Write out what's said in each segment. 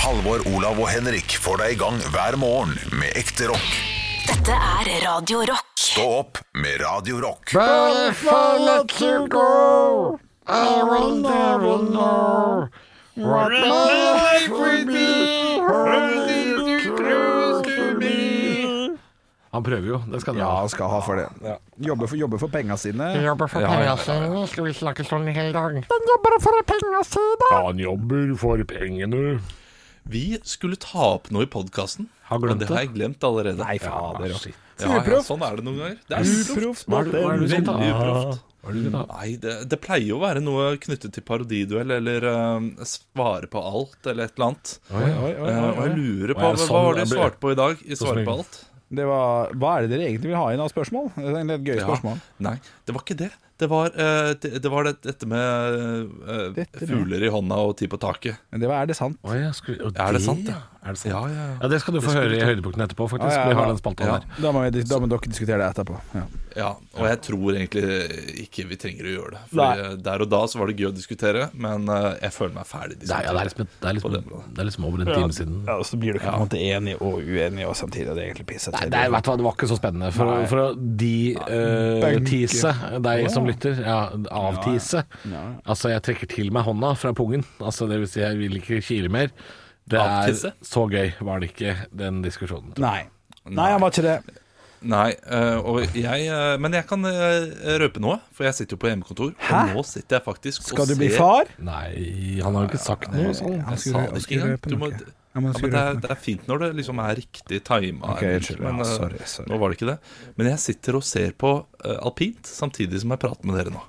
Halvor, Olav og Henrik får deg i gang hver morgen med ekte rock. Dette er Radio Rock. Stå opp med Radio Rock. But if I let you go, I will never know what my life would be. Only you close to me. Han prøver jo, det skal du Ja, ha. han skal ha for det. Jobber for, jobber for penga sine. Jobber for Ja, ja, ja. penga sine, skal vi snakke sånn i hele dag. Han jobber for pengene. Vi skulle ta opp noe i podkasten. Har glemt og det har jeg glemt allerede. Nei, fader, ass. ja, ja, sånn er det noen ganger. Det er uproft. Hva er det- hva er det du skal ta? Veldig Hva uproft. er det du skal ta? Nei, det, det pleier jo å være noe knyttet til parodiduell eller eh, svare på alt eller et eller annet. Eh, og jeg lurer på Å, ja, hva, sånn hva var det jeg du ble- svarte på i dag? I svare smil. på alt? Det var, hva er det dere egentlig vil ha inn av spørsmål? Det er egentlig et gøy spørsmål. Nei, det var ikke det. Det var, eh, det, det var det, dette med eh, Dette med- fugler i hånda og ti på taket. Men Det var, er det sant? Å, ja, skal vi, og Er det sant, ja? Er det sant? Ja, ja, ja. Ja, det skal du få høre i høydepunkten etterpå, faktisk. Ja, ja, Vi har ja. den spalta Ja. der. Da må, vi, da må dere diskutere det etterpå. Ja. Ja, og jeg tror egentlig ikke vi trenger å gjøre det. Nei. For eh, der og da så var det gøy å diskutere, men eh, jeg føler meg ferdig Det er, ja, diskutert. det er liksom, det er liksom, På den måten. det er liksom over en time siden. og så blir du ikke på en måte enig og uenig og samtidig, og det er egentlig pissete. Nei, det, er, vet du hva, det var ikke så spennende. For, å- for å de-tease deg som lytter. Ja, avtise. Altså, jeg trekker til meg hånda fra pungen. Altså, det vil si, jeg vil ikke kile mer. Det Avtisse? er så gøy var det ikke, den diskusjonen. Nei. Nei, han var ikke det. Nei, eh, og jeg, eh, men jeg kan eh, røpe noe, for jeg sitter jo på hjemmekontor. Hæ? Og nå sitter jeg faktisk Skal og du bli ser- far? Nei, han har jo ikke sagt noe sånn. Han Jeg skulle- sa han det ikke skulle røpe engang. Du noe. må- Ja, men han men skulle det, er, røpe det er fint når det liksom er riktig tima. Ok, unnskyld. Ja, men, eh, sorry, sorry. Nå var det ikke det. Men jeg sitter og ser på eh, alpint samtidig som jeg prater med dere nå.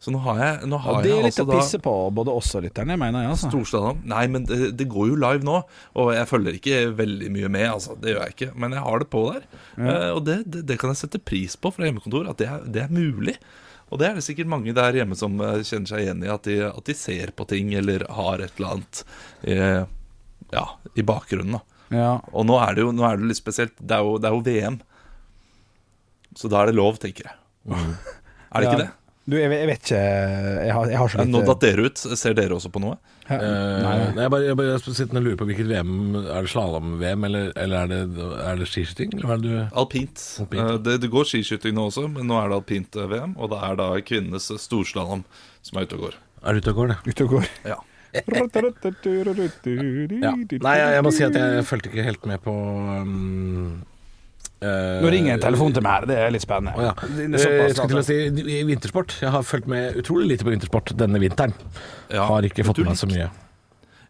Så nå har jeg, nå har Og det jeg er litt altså å da pisse på både oss og lytterne, mener jeg. altså Storstadene. Nei, men det, det går jo live nå, og jeg følger ikke veldig mye med, altså. Det gjør jeg ikke. Men jeg har det på der. Eh, og det, det, det kan jeg sette pris på fra hjemmekontor, at det er, det er mulig. Og det er det sikkert mange der hjemme som eh, kjenner seg igjen i, at de, at de ser på ting eller har et eller annet eh, ja, i bakgrunnen. da. Ja. Og nå er det jo nå er det jo litt spesielt. Det er jo, det er jo VM. Så da er det lov, tenker jeg. Mm. Er det Ja. ikke det? Du, jeg, jeg vet ikke Jeg har, jeg har så Eh, Nå lite datt dere ut. Ser dere også på noe? Hæ? Eh, Nei, nei. nei, jeg bare, jeg bare sitter og lurer på hvilket VM Er det slalåm-VM, eller, eller er det, er det skiskyting? Eller hva er det du Alpint. Alpint. Eh, Det, det går skiskyting nå også, men nå er det alpint-VM. Og det er da kvinnenes storslalåm som er ute og går. er ute og går, det? Ute og går. Ja. Ja. Nei, jeg, jeg må si at jeg fulgte ikke helt med på um, eh, Nå ringer en telefon til meg her, det er litt spennende. Å ja. Det er Eh, såpass Jeg skulle til å at- si i vintersport. Jeg har fulgt med utrolig lite på vintersport denne vinteren. Ja, Har ikke men fått du med meg så likte- mye.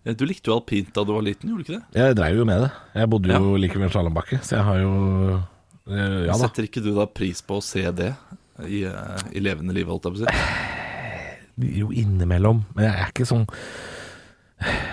Eh, Du likte jo alpint da du var liten, gjorde du ikke det? Jeg dreiv jo med det. Jeg bodde jo like ved en slalåmbakke, så jeg har jo eh, Ja da. Setter ikke du da pris på å se det i, eh, i levende liv, holdt jeg på å si? Jo, innimellom. Men jeg er ikke sånn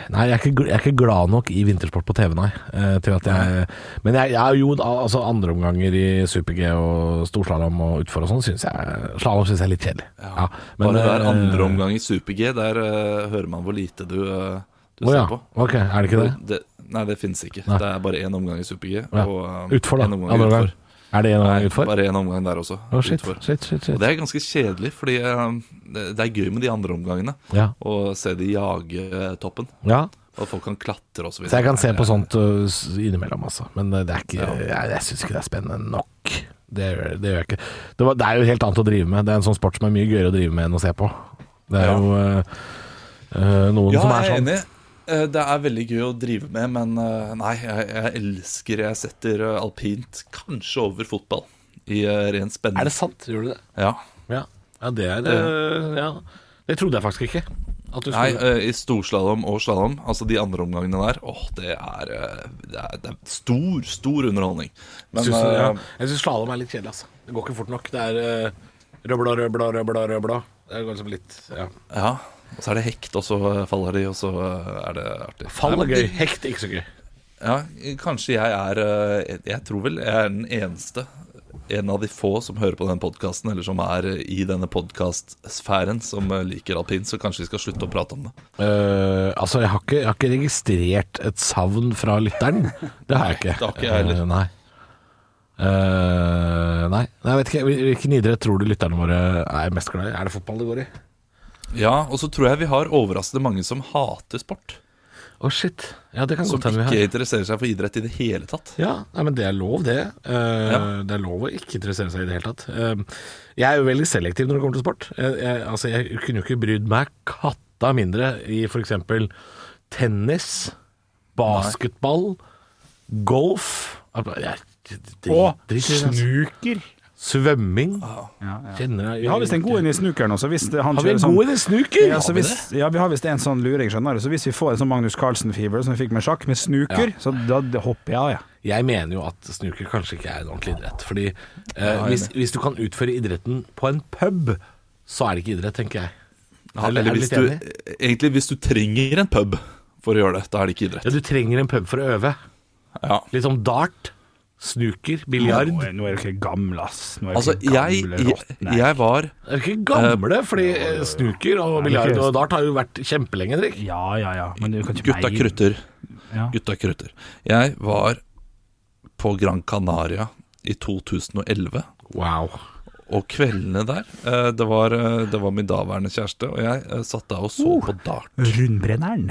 Nei, jeg er, ikke, gl- jeg er ikke glad nok i vintersport på TV, nei. eh, Til at jeg, men jeg, jeg er jo da- altså andreomganger i super-G og storslalåm og utfor og sånn, syns jeg Slalåm syns jeg er litt kjedelig. Ja, men, Bare der eh, andre omgang i super-G, der eh, hører man hvor lite du, eh, du Å ser ja. på. Ok, er det ikke det? Det, nei, det finnes ikke. Nei. Det er bare én omgang i super-G. Ja. og, eh, Utfor, da. en omgang Andre omgang. utfor. Er det en omgang Nei, utfor? bare én omgang der også. Å, shit, utfor. shit, shit, Og shit. det er ganske kjedelig, fordi eh, det det er gøy med de andre omgangene. Ja. Og se de jage eh, toppen. ja. Og at folk kan klatre og så videre. Så jeg kan se på sånt uh, s- innimellom, altså. Men uh, det er ikke, jeg, jeg syns ikke det er spennende nok. Det gjør, det gjør jeg ikke. Det, var, det er jo helt annet å drive med. Det er en sånn sport som er mye gøyere å drive med enn å se på. Det er Ja. jo uh, uh, noen Ja, som er jeg er sånn enig. Eh, Det er veldig gøy å drive med, men eh, nei, jeg, jeg elsker Jeg setter eh, alpint kanskje over fotball. I eh, ren spenning. Er det sant? Gjør du det? Ja. Ja, ja det er uh, ja. Det trodde jeg faktisk ikke. At du Nei, skulle eh, i storslalåm og slalåm, altså de andre omgangene der, åh, det er, eh, det er, det er stor, stor underholdning. Men Syns du- eh, ja. Jeg syns slalåm er litt kjedelig, altså. Det går ikke fort nok. Det er uh, røbla, røbla, røbla, røbla. Det går liksom litt ja. ja. Og så er det hekt, og så eh, faller de, og så eh, er det artig. Fall Nei, er men- gøy. Hekt er ikke så gøy. Ja, kanskje jeg er eh, Jeg tror vel jeg er den eneste En av de få som hører på denne podcasten Eller som er eh, i denne podcastsfæren Som eh, liker alpin Så kanskje vi skal slutte å prate om det Eh, altså, jeg har, ikke, jeg har ikke registrert et savn fra lytteren. Det har jeg ikke. det har ikke jeg heller. Eh, nei. Eh, nei. Nei, Jeg vet ikke. Hvil- Hvilken idrett tror du lytterne våre er mest glad i? Er det fotball det går i? Ja, og så tror jeg vi har overraskende mange som hater sport Å, shit. Ja, det kan Som godt hende vi ikke har. interesserer seg for idrett i det hele tatt. Ja, nei, men det er lov, det. Eh, Ja. Det er lov å ikke interessere seg i det hele tatt. Eh, jeg er jo veldig selektiv når det kommer til sport. Jeg, jeg, altså, jeg kunne jo ikke brydd meg katta mindre i f.eks. tennis, basketball, golf Altså, jeg, drit- Og driter i det, altså. snuker. Svømming. Ah. Ja, ja. Kjenner jeg Vi har visst en god en i snukeren også. Hvis det, han Har vi kjører en sånn- god en i snuker? Ja, så hvis, ja, vi har visst en sånn luring, skjønner du. Så hvis vi får en sånn Magnus Carlsen-fever som vi fikk med sjakk, med snuker, så da det hopper jeg av, ja. Jeg mener jo at snooker kanskje ikke er en ordentlig idrett. Fordi eh, hvis, hvis du kan utføre idretten på en pub, så er det ikke idrett, tenker jeg. Ja, Er du- eller er du hvis litt du, enig? egentlig hvis du trenger en pub for å gjøre det, da er det ikke Ja, idrett. du trenger en pub for å øve. Ja. Litt som dart, snooker, biljard. Nå er- Nå er du ikke gammel, ass. Nå er du Altså, ikke jeg, gammel, jeg, råtne. jeg var Det er jo ikke gamle, fordi eh, snooker og biljard og dart har jo vært kjempelenge, Henrik. Ja, ja, ja. Men du kan ikke Gutta meg- krutter. Ja. Gutta krutter. Jeg var på Gran Canaria i 2011, Wow. og kveldene der eh, Det var, eh, det var min daværende kjæreste, og jeg eh, satt der og så på dart. Rundbrenneren.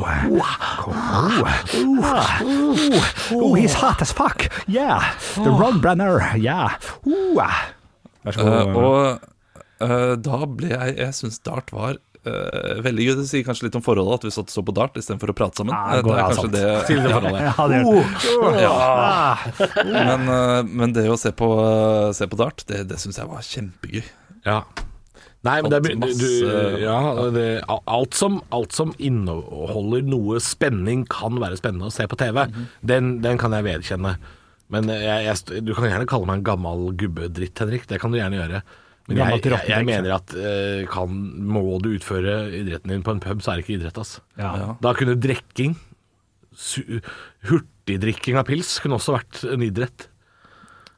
Oh. Oh. Oh. Oh, he's hot as fuck. Yeah. The rundbrenner. Yeah. Oh. Vær så Eh, god. og eh, da ble jeg Jeg syns dart var eh, veldig gøy. Det sier kanskje litt om forholdet at vi satt og så på dart istedenfor å prate sammen. Ja, Eh, går- det ja, er sant. kanskje det, Til det forholdet. ja, det gjør det. Ja. Men, eh, men det å se på, eh, se på dart, det, det syns jeg var kjempegøy. Ja. Nei, men det er Fant mye- du, masse- ja, det, alt, som, alt som inneholder noe spenning, kan være spennende å se på TV. Mhm. den, den kan jeg vedkjenne. Men jeg, jeg, st- du kan gjerne kalle meg en gammel gubbedritt, Henrik. Det kan du gjerne gjøre. Men jeg, Gammelt jeg, jeg rottedritt. mener at eh, kan, må du utføre idretten din på en pub, så er det ikke idrett, ass. Ja. Da kunne drikking, su- hurtigdrikking av pils, kunne også vært en idrett.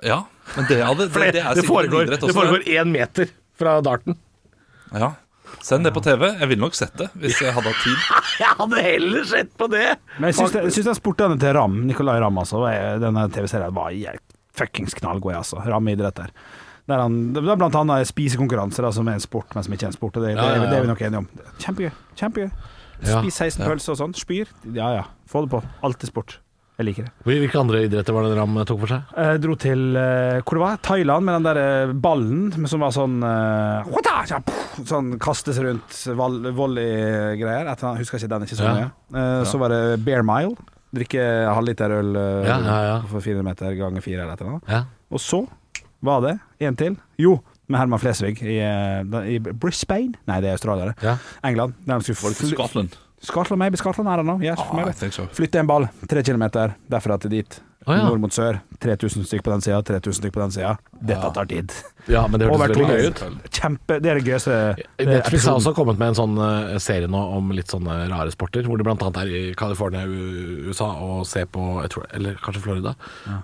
Ja, men det, hadde, For det, det, det er det sikkert en foregår- idrett det også. foregår én meter fra darten. Ja. Send det på TV. Jeg ville nok sett det hvis jeg hadde hatt tid. Jeg hadde heller sett på det! Men jeg syns, det, jeg syns den sportene til Ram, Nicolay Ramm, altså, var- denne TV-serien var helt fuckings knallgod, altså. Ram i idrett der. Der han, det er blant annet spisekonkurranser, da, som er en sport, men som ikke er en sport. Og det, det, Ja, ja, ja. det er vi nok enige om. Kjempegøy. Kjempegøy. Ja. Spis 16 pølser og sånn. Spyr. Ja ja. Få det på. Alt er sport. Jeg liker det. Hvilke andre idretter var det Ram tok for seg? Jeg dro til eh, hvor det var Thailand med den der eh, ballen som var sånn eh, hota, ja, puff, Sånn kastes rundt val- volley-greier. Et eller annet, Husker ikke den, ikke så Ja. mye. Eh, Så var det Bear Mile. Drikke halvliter øl eh, Ja, ja, ja. for 400 meter ganger 4 eller et eller annet. Ja. Og så var det en til. Jo, med Herman Flesvig i, eh, da- i Brisbane. Nei, det er australiere. Ja. England. Der de skulle fly- Scotland. Scotland, maybe Scotland, I don't know. Yes, Ah, maybe. I think so. Flytte en ball, tre kilometer derfra til dit. Å, ja. Nord mot sør. 3000 stykk på den sida, 3000 stykk på den sida. Dette tar tid. ja, men det hørtes veldig gøy ut. Kjempe, det er det gøyeste det er Netflix har episoden. også kommet med en sånn eh, serie nå om litt sånne rare sporter, hvor det blant annet er i California, U- USA, og se på, jeg tror, eller kanskje Florida,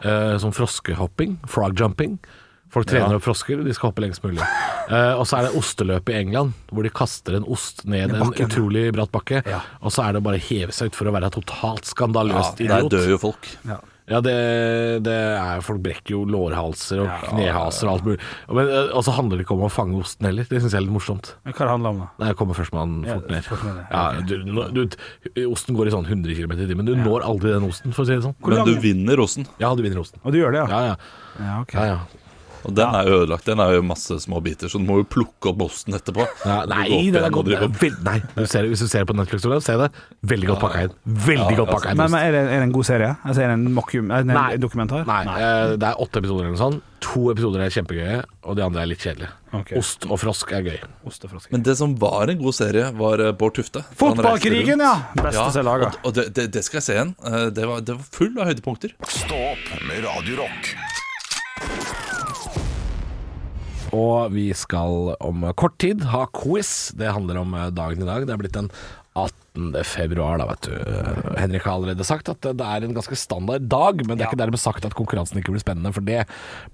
eh, som froskehopping, frog jumping. Folk trener opp frosker, de skal hoppe lengst mulig. Eh, og så er det osteløp i England, hvor de kaster en ost ned en bakken. utrolig bratt bakke, Ja. og så er det bare å heve seg ut for å være totalt Ja, skandaløst der idiot. dør jo folk. Ja. Ja, det, det er Folk brekker jo lårhalser og knehaser og alt mulig. Og, men, eh, og så handler det ikke om å fange osten heller. Det syns jeg er litt morsomt. Hva det handler om, da? Nei, jeg kommer førstemann fort ned. fort ned, Ja, du, nå- du, osten går i sånn 100 km i timen. Du når aldri den osten, for å si det sånn. Men du vinner rosen. Ja, du vinner osten. Og du gjør det, ja? Ja, ja. Ja, ok. ja, ja. Og den er jo ødelagt. Den er jo masse små biter, så du må jo plukke opp osten etterpå. ja Og du nei, går opp den er igjen og godt driver og- vel- Nei, du ser, hvis du ser på Netflix, Olav, se det. Veldig godt pakka inn. Veldig godt pakka inn. Men, men ost. er, det, er det en god serie? Altså, er det en, mockum, er det Nei. en dokumentar? Nei, eh, det er åtte episoder eller noe sånt. To episoder er kjempegøye, og de andre er litt kjedelige. Ok. Ost og frosk er gøy. Ostefrosker. Men det som var en god serie, var eh, Bård Tufte. Han reiste Fotballkrigen, rundt. ja! Beste som er laga. Og, og det, det, det skal jeg se igjen. Eh, Det var, det var full av høydepunkter. Stå opp med Radio Rock. Og vi skal om kort tid ha quiz. Det handler om eh, dagen i dag. Det er blitt den 18. februar, da, vet du. Henrik har allerede sagt at det er en ganske standard dag, men det er ikke dermed sagt at konkurransen ikke blir spennende, for det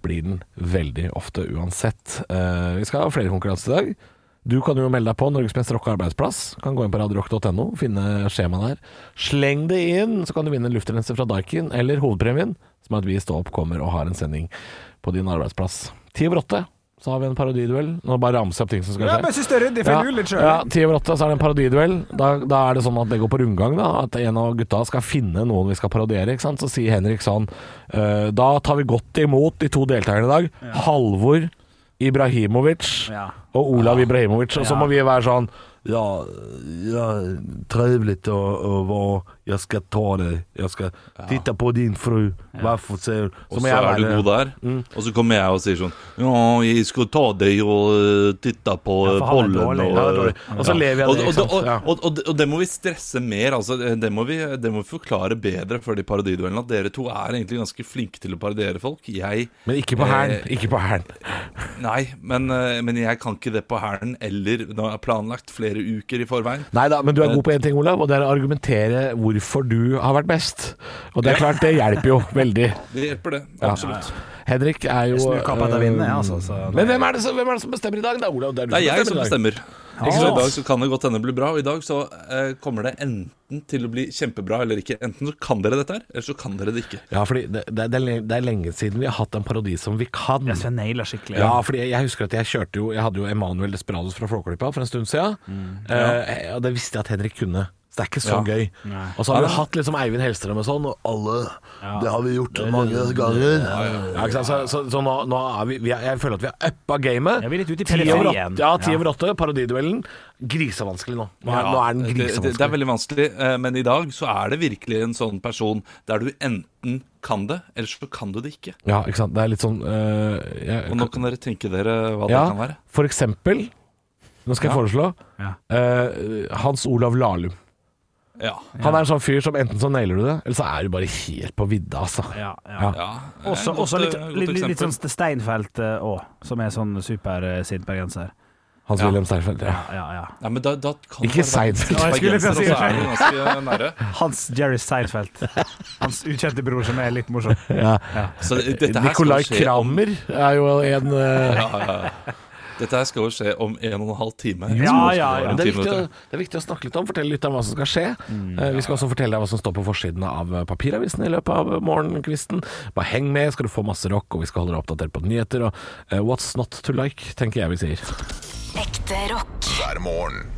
blir den veldig ofte uansett. Eh, Vi skal ha flere konkurranser i dag. Du kan jo melde deg på Norges mest rocka arbeidsplass. Kan gå inn på radiorock.no, finne skjemaet der. Sleng det inn, så kan du vinne en luftrenser fra Daikin, eller hovedpremien, som er at vi i Stå opp kommer og har en sending på din arbeidsplass. Ti over åtte så har vi en parodiduell. Nå bare ramser jeg opp ting som skal Ja, skje. men jeg synes det er ryddig, for jeg lurer litt selv. Ja, Ti over åtte så er det en parodiduell. Da, da er det sånn at det går på rundgang. da At en av gutta skal finne noen vi skal parodiere. Ikke sant? Så sier Henrik sånn «Eh, Da tar vi godt imot de to deltakerne i dag. Halvor Ibrahimovic Ja. og Olav Ibrahimovic. Og så Ja. må vi være sånn Ja, ja trivelig å, å være Jeg skal ta det. Jeg skal titte på din fru. Hvorfor ser du Og så er du god der. Mm. Og så kommer jeg og sier sånn Ja, jeg skal ta deg og eh, titte på Ja, eh, for han er dårlig. bollen og Ja, han er dårlig. Og så Ja. lever jeg Og- det, ikke og- sant? og- Ja. Og, og, og det må vi stresse mer. Altså, det, må vi, det må vi forklare bedre for de parodiduellene. At dere to er egentlig ganske flinke til å parodiere folk. Jeg Men ikke på hælen. Ikke på hælen. Nei, men, eh, men jeg kan ikke det på hælen eller når jeg har planlagt flere uker i forveien. Nei da, men du er god på én ting, Olav, og det er å argumentere hvorfor du har vært best. Og det er klart, det hjelper jo veldig. Det hjelper, det. Ja. Absolutt. Henrik er jo Jeg snur kappa etter eh, vinden, jeg, altså, så- Men hvem er, det som, hvem er det som bestemmer i dag, da, Olav? Det er, du Det er jeg som i dag. bestemmer. Ikke sant? I dag så kan det godt hende det blir bra, og i dag så eh, kommer det enten til å bli kjempebra eller ikke. Enten så kan dere dette her, eller så kan dere det ikke. Ja, fordi det, det, er- det er le- det er lenge siden vi har hatt en parodi som vi kan. Jeg skal naile skikkelig. Ja, fordi jeg, jeg husker at jeg kjørte jo Jeg hadde jo Emanuel Desperados fra Flåklypa for en stund siden. Eh, og det visste jeg at Henrik kunne. Så det er ikke så Mm. Ja. gøy. Og så har vi hatt liksom Eivind Hellstrøm og sånn, og alle Det har vi gjort mange ganger. Ja, ikke sant? Så, så, så nå, nå er vi, vi er, Jeg føler at vi er uppa gamet. Ja, vi er litt ute i Ti over åtte- periferien. Ja, ti Ja. over åtte. Parodiduellen. Grisevanskelig nå. Nå er, Ja, nå er den det, det, grisevanskelig. det er veldig vanskelig, eh, men i dag så er det virkelig en sånn person der du enten kan det, eller så kan du det ikke. Ja, ikke sant. Det er litt sånn eh, jeg, Og nå kan dere tenke dere hva Ja, det kan være. for eksempel Nå skal jeg foreslå Ja. eh, Hans Olav Lahlum. Ja. Han er en sånn fyr som enten så nailer du det, eller så er du bare helt på vidda, altså. Ja, ja. Ja. ja. Også, Godt, også eh, litt, godt litt, litt, litt eksempel. sånn Steinfeld òg, som er sånn supersint bergenser. Hans Ja. Wilhelm Steinfeld. Ja. Ja, ja. Nei, men da, da kan Ikke det være- Seinfeld. Ja, jeg skulle til å Bergenser, si og så er det ganske nære. Hans Jerry Seinfeld. Hans ukjente bror som er litt morsom. Ja. Så det- dette her skal Nicolai skje om- Kramer er jo en eh, Ja, ja, ja. Dette her skal jo skje om en og en halv time. Ja, Så skal ja, være ja. en det, er time viktig å, ute. det er viktig å snakke litt om, fortelle litt om hva som skal skje. Eh, vi skal også fortelle deg hva som står på forsiden av eh, papiravisen i løpet av eh, morgenkvisten. Bare heng med, skal du få masse rock, og vi skal holde deg oppdatert på nyheter. Og eh, what's not to like, tenker jeg vi sier. Ekte rock. hver morgen.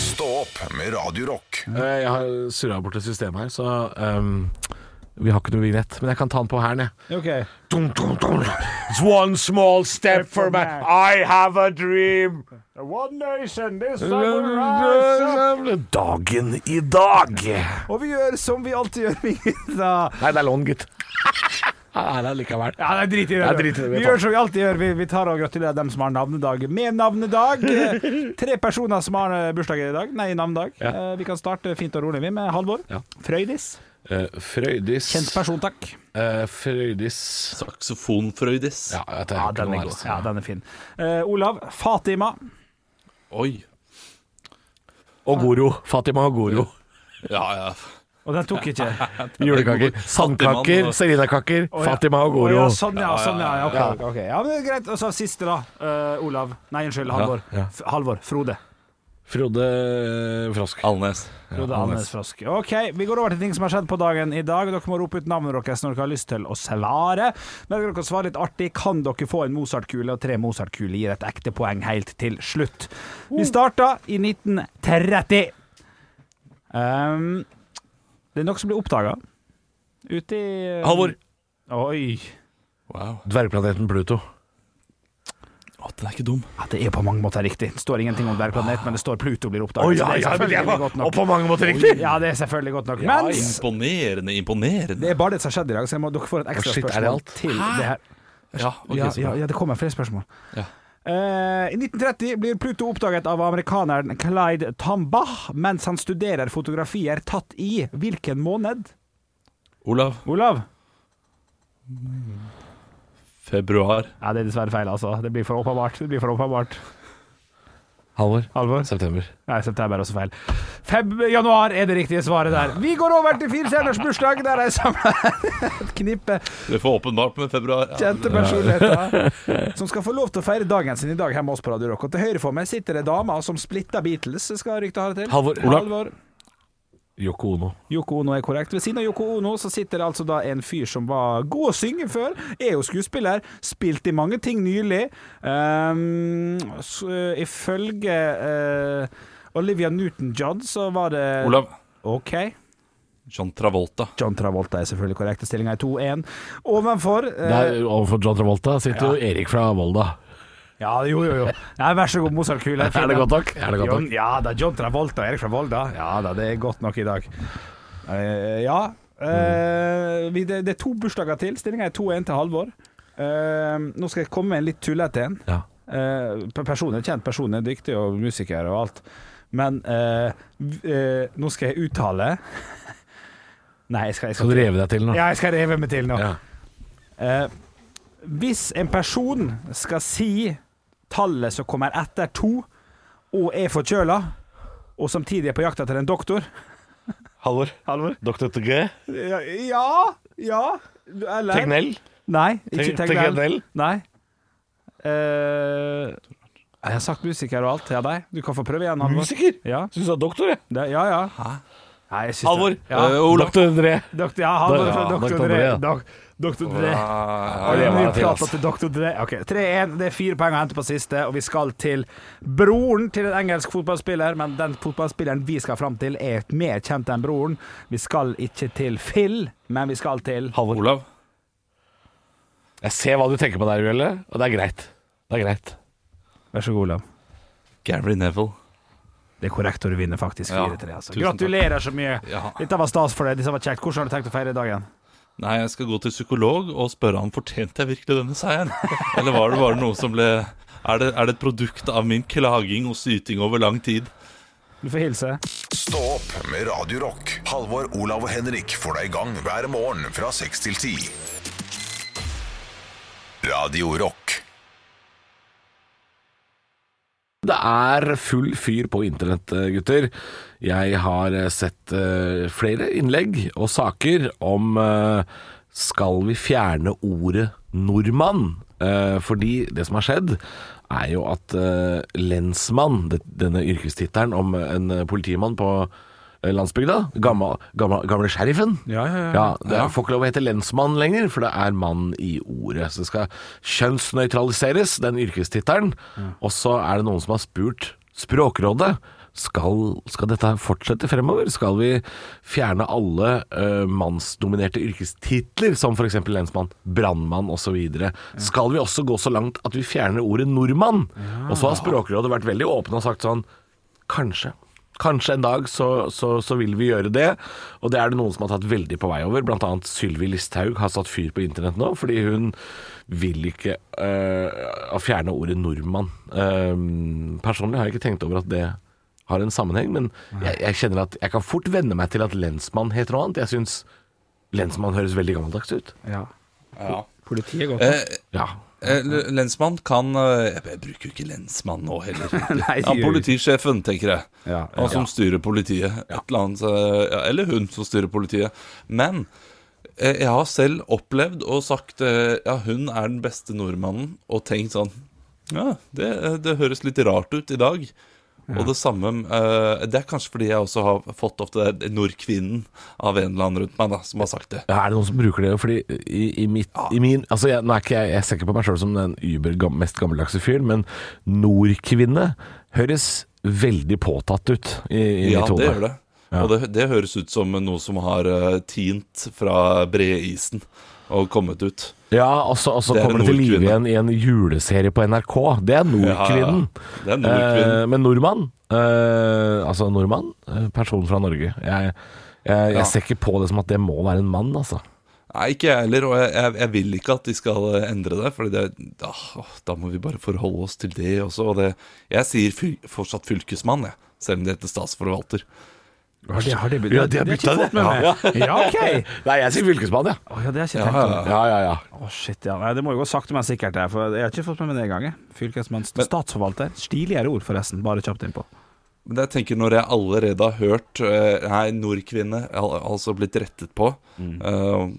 Stå opp med Radio Rock. Eh, jeg har surra bort et system her, så ehm, vi har ikke noe vignett. Men jeg kan ta den på hælen, jeg. Okay. Dun, dun, dun. It's one small step for man. I have a dream. One nation, this Dagen i dag. Og vi gjør som vi alltid gjør, vi gutta. Nei, det er lån, gitt. Nei, det er likevel. Ja, det er drit i det. Det er drit i det, vi vi tar. gjør som vi alltid gjør. Vi, vi tar og gratulerer dem som har navnedag med navnedag. Eh, Tre personer som har eh, bursdag i dag. Nei, navnedag. Eh, Vi kan starte fint og rolig vi med Halvor. Ja. Frøydis. Eh, Frøydis Kjent person, takk. Eh, Frøydis Saksofonfrøydis. Ja, jeg tar Ja, den er god. Ja, den er fin. Eh, Olav. Fatima. Oi. Og Goro. Fatima og Goro. Ja, ja. Og den tok ikke. Julekaker. Sandkaker. og- Selinakaker. Å, ja. Fatima og Å, Goro. ja, sånn, ja. Sånn, ja. ja, ok, ok. ja men det er greit. Og så siste, da. Eh, Olav. Nei, unnskyld. Halvor. Ja, ja. F- Halvor. Frode. Frode eh, Frosk. Alnes. Frode Alnes Frosk. OK, vi går over til ting som har skjedd på dagen i dag. Dere må rope ut navnet deres når dere har lyst til å svare. Men dere kan svare litt artig. Kan dere få en Mozart-kule? Og tre Mozart-kuler gir et ekte poeng helt til slutt. Vi starta i 1930. Ehm, det er noe som blir oppdaga ute i Halvor. Oi. Wow. Dvergplaneten Pluto. Å, den er ikke dum. Ja, det er på mange måter riktig. Det står ingenting om dvergplanet, men det står Pluto blir oppdaget. Å så ja, ja, det er men det selvfølgelig var godt og nok. på mange måter riktig! Ja, det er selvfølgelig godt nok. Ja, Mens Imponerende, imponerende. det er bare det som har skjedd i dag, så jeg må, dere får et ekstra Å, shit, er det spørsmål alt? til det her. Ja, ok, Ja, så ja, bra. ja, det kommer flere spørsmål. Ja. Eh, I 1930 blir Pluto oppdaget av amerikaneren Clyde Tambach mens han studerer fotografier tatt i hvilken måned? Olav. Olav? Februar. Ja, det er dessverre feil, altså. Det blir for åpenbart. Det blir for åpenbart. Halvor. Halvor? September. Nei, september er også feil. 5. januar er det riktige svaret der. Vi går over til firestjerners bursdag, der jeg samler et knippe Dere får åpenbart med februar. Ja, kjente personligheter som skal få lov til å feire dagen sin i dag hjemme hos oss på Radio Rock. Og til høyre for meg sitter det dama som splitter Beatles, skal ryktet ha det til. Halvor. Halvor. Yoko Ono. Yoko Ono er korrekt. Ved siden av Yoko Ono så sitter det altså da en fyr som var god å synge før. Er jo skuespiller. Spilt i mange ting nylig. Um, så, eh, ifølge eh, Olivia Newton-John så var det Olav. OK. John Travolta. John Travolta er selvfølgelig korrekt. Stillinga er 2-1. Ovenfor eh, Der overfor John Travolta sitter jo Erik fra Volda. Ja, jo, jo, jo. Nei, vær så god, Mozart-kule. Er det godt nok? Er det godt John, nok? ja da, John Travolta og Erik fra Volda. Ja da, det er godt nok i dag. Eh, ja. eh, vi, det, det er to bursdager til. Stillinga er 2-1 til Halvor. Eh, nå skal jeg komme med en litt tullete en. Ja. Eh, per- personen er kjent, personen er dyktig og musiker og alt. Men eh, v- eh, nå skal jeg uttale Nei, jeg skal, Skal jeg skal du reve deg til nå? Ja, jeg skal reve meg til nå. Ja. Eh, hvis en person skal si tallet som kommer etter to, og er forkjøla, og samtidig er på jakt etter en doktor Halvor. Dr. Tugge. Ja, ja, ja Eller Tegnell. Nei, ikke Teg- Tegnell. Tegnell? Nei. Eh, jeg har sagt musiker og alt til deg. Du kan få prøve igjen, Halvor. Musiker? Ja, Syns du er doktor, jeg? det, ja. ja. Nei, jeg synes det- Halvor. Ja, Eh, Olav. Dr. Dre. Doktor, ja, Halvor Ja, fra Dr. Doktor Dre, Dre. ja. Dok- Doktor Dre. Ah, Og det det er var mye det til, prat altså. til Dr. Dre. Ok, 3-1. Det er fire poeng å hente på siste, og vi skal til broren til en engelsk fotballspiller. Men den fotballspilleren vi skal fram til, er mer kjent enn broren. Vi skal ikke til Phil, men vi skal til Halvor. Olav. Jeg ser hva du tenker på der, Uelle, og det er greit. Det er greit. Vær så god, Olav. Gary Neville. Det er korrekt, og du vinner faktisk Ja, 4-3. altså. tusen takk. Gratulerer så mye. Ja. Dette var stas for deg. Dette var kjekt. Hvordan har du tenkt å feire dagen? Nei, jeg skal gå til psykolog og spørre han fortjente jeg virkelig denne seieren. Eller var det bare noe som ble er det, er det et produkt av min klaging og syting over lang tid? Du får hilse. Stå opp med Radio Rock. Halvor, Olav og Henrik får deg i gang hver morgen fra 6 til 10. Radio Rock. Det er full fyr på internett, eh, gutter. Jeg har eh, sett eh, flere innlegg og saker om eh, skal vi fjerne ordet nordmann? Eh, fordi det som har skjedd, er jo at eh, lensmann, det- denne yrkestittelen om en eh, politimann på eh, landsbygda, gamle, gamle, gamle sheriffen, Ja, ja, ja. det er- får ikke lov å hete lensmann lenger, for det er mann i ordet. Så det skal kjønnsnøytraliseres, den yrkestittelen. Og så er det noen som har spurt Språkrådet. Skal, skal dette her fortsette fremover? Skal vi fjerne alle eh, mannsdominerte yrkestitler, som f.eks. lensmann, brannmann osv.? Skal vi også gå så langt at vi fjerner ordet nordmann? Og så har Språkrådet vært veldig åpne og sagt sånn Kanskje. Kanskje en dag så, så, så vil vi gjøre det, og det er det noen som har tatt veldig på vei over. Blant annet Sylvi Listhaug har satt fyr på internett nå, fordi hun vil ikke øh, å fjerne ordet nordmann. Ehm, personlig har jeg ikke tenkt over at det har en sammenheng, men jeg, jeg kjenner at jeg kan fort venne meg til at lensmann heter noe annet. Jeg syns lensmann høres veldig gammeldags ut. ja. Ja. Politiet er godt. Eh, Ja. eh, l- lensmann kan eh, Jeg jeg bruker jo ikke lensmann nå heller. Nei, Ja, gjør vi ikke. politisjefen, tenker jeg. Ja, Han som styrer politiet. Et eller, annet, eh, ja, eller hun som styrer politiet. Men eh, jeg har selv opplevd og sagt eh, ja, hun er den beste nordmannen, og tenkt sånn Ja, det, eh, det høres litt rart ut i dag. Og det samme eh, Det er kanskje fordi jeg også har fått ofte det nordkvinnen av en eller annen rundt meg da, som har sagt det. Ja, er det noen som bruker det? Fordi i, i, mitt, i min altså jeg, Nå er ikke jeg, jeg ser ikke på meg sjøl som den uber gam- mest gammeldagse fyren, men nordkvinne høres veldig påtatt ut i, i Ja, mitt hode. det gjør det. Og det, det høres ut som noe som har eh, tint fra breisen og kommet ut. Ja, og så og så Det er kommer det til live igjen nordkvinne. i en juleserie på NRK. Det er Nordkvinnen. Ja, Det er nordkvinnen. Eh, men nordmann eh, Altså nordmann, eh, person fra Norge. Jeg, jeg, jeg Ja. ser ikke på det som at det må være en mann, altså. Nei, ikke jeg heller, og jeg, jeg, jeg vil ikke at de skal eh, endre det, for det, ah, åh, da må vi bare forholde oss til det også. Og det, jeg sier fyl, fortsatt fylkesmann, jeg, selv om det heter statsforvalter. Har de, har de, byttet- det har jeg ikke fått med meg. Ja, OK. Nei, jeg sier fylkesmann, ja. Å, ja, det har jeg ikke Ja, tenkt over. ja, ja. Ja, ja, ja. Å shit, ja. Nei, det må jo gå sakte, men sikkert. her, For jeg har ikke fått med meg det engang. jeg. Fylkesmann, statsforvalter. Stiligere ord, forresten. Bare kjapt innpå. Men jeg tenker når jeg Mm. allerede har hørt eh, Nei, nordkvinne, al altså blitt rettet på eh,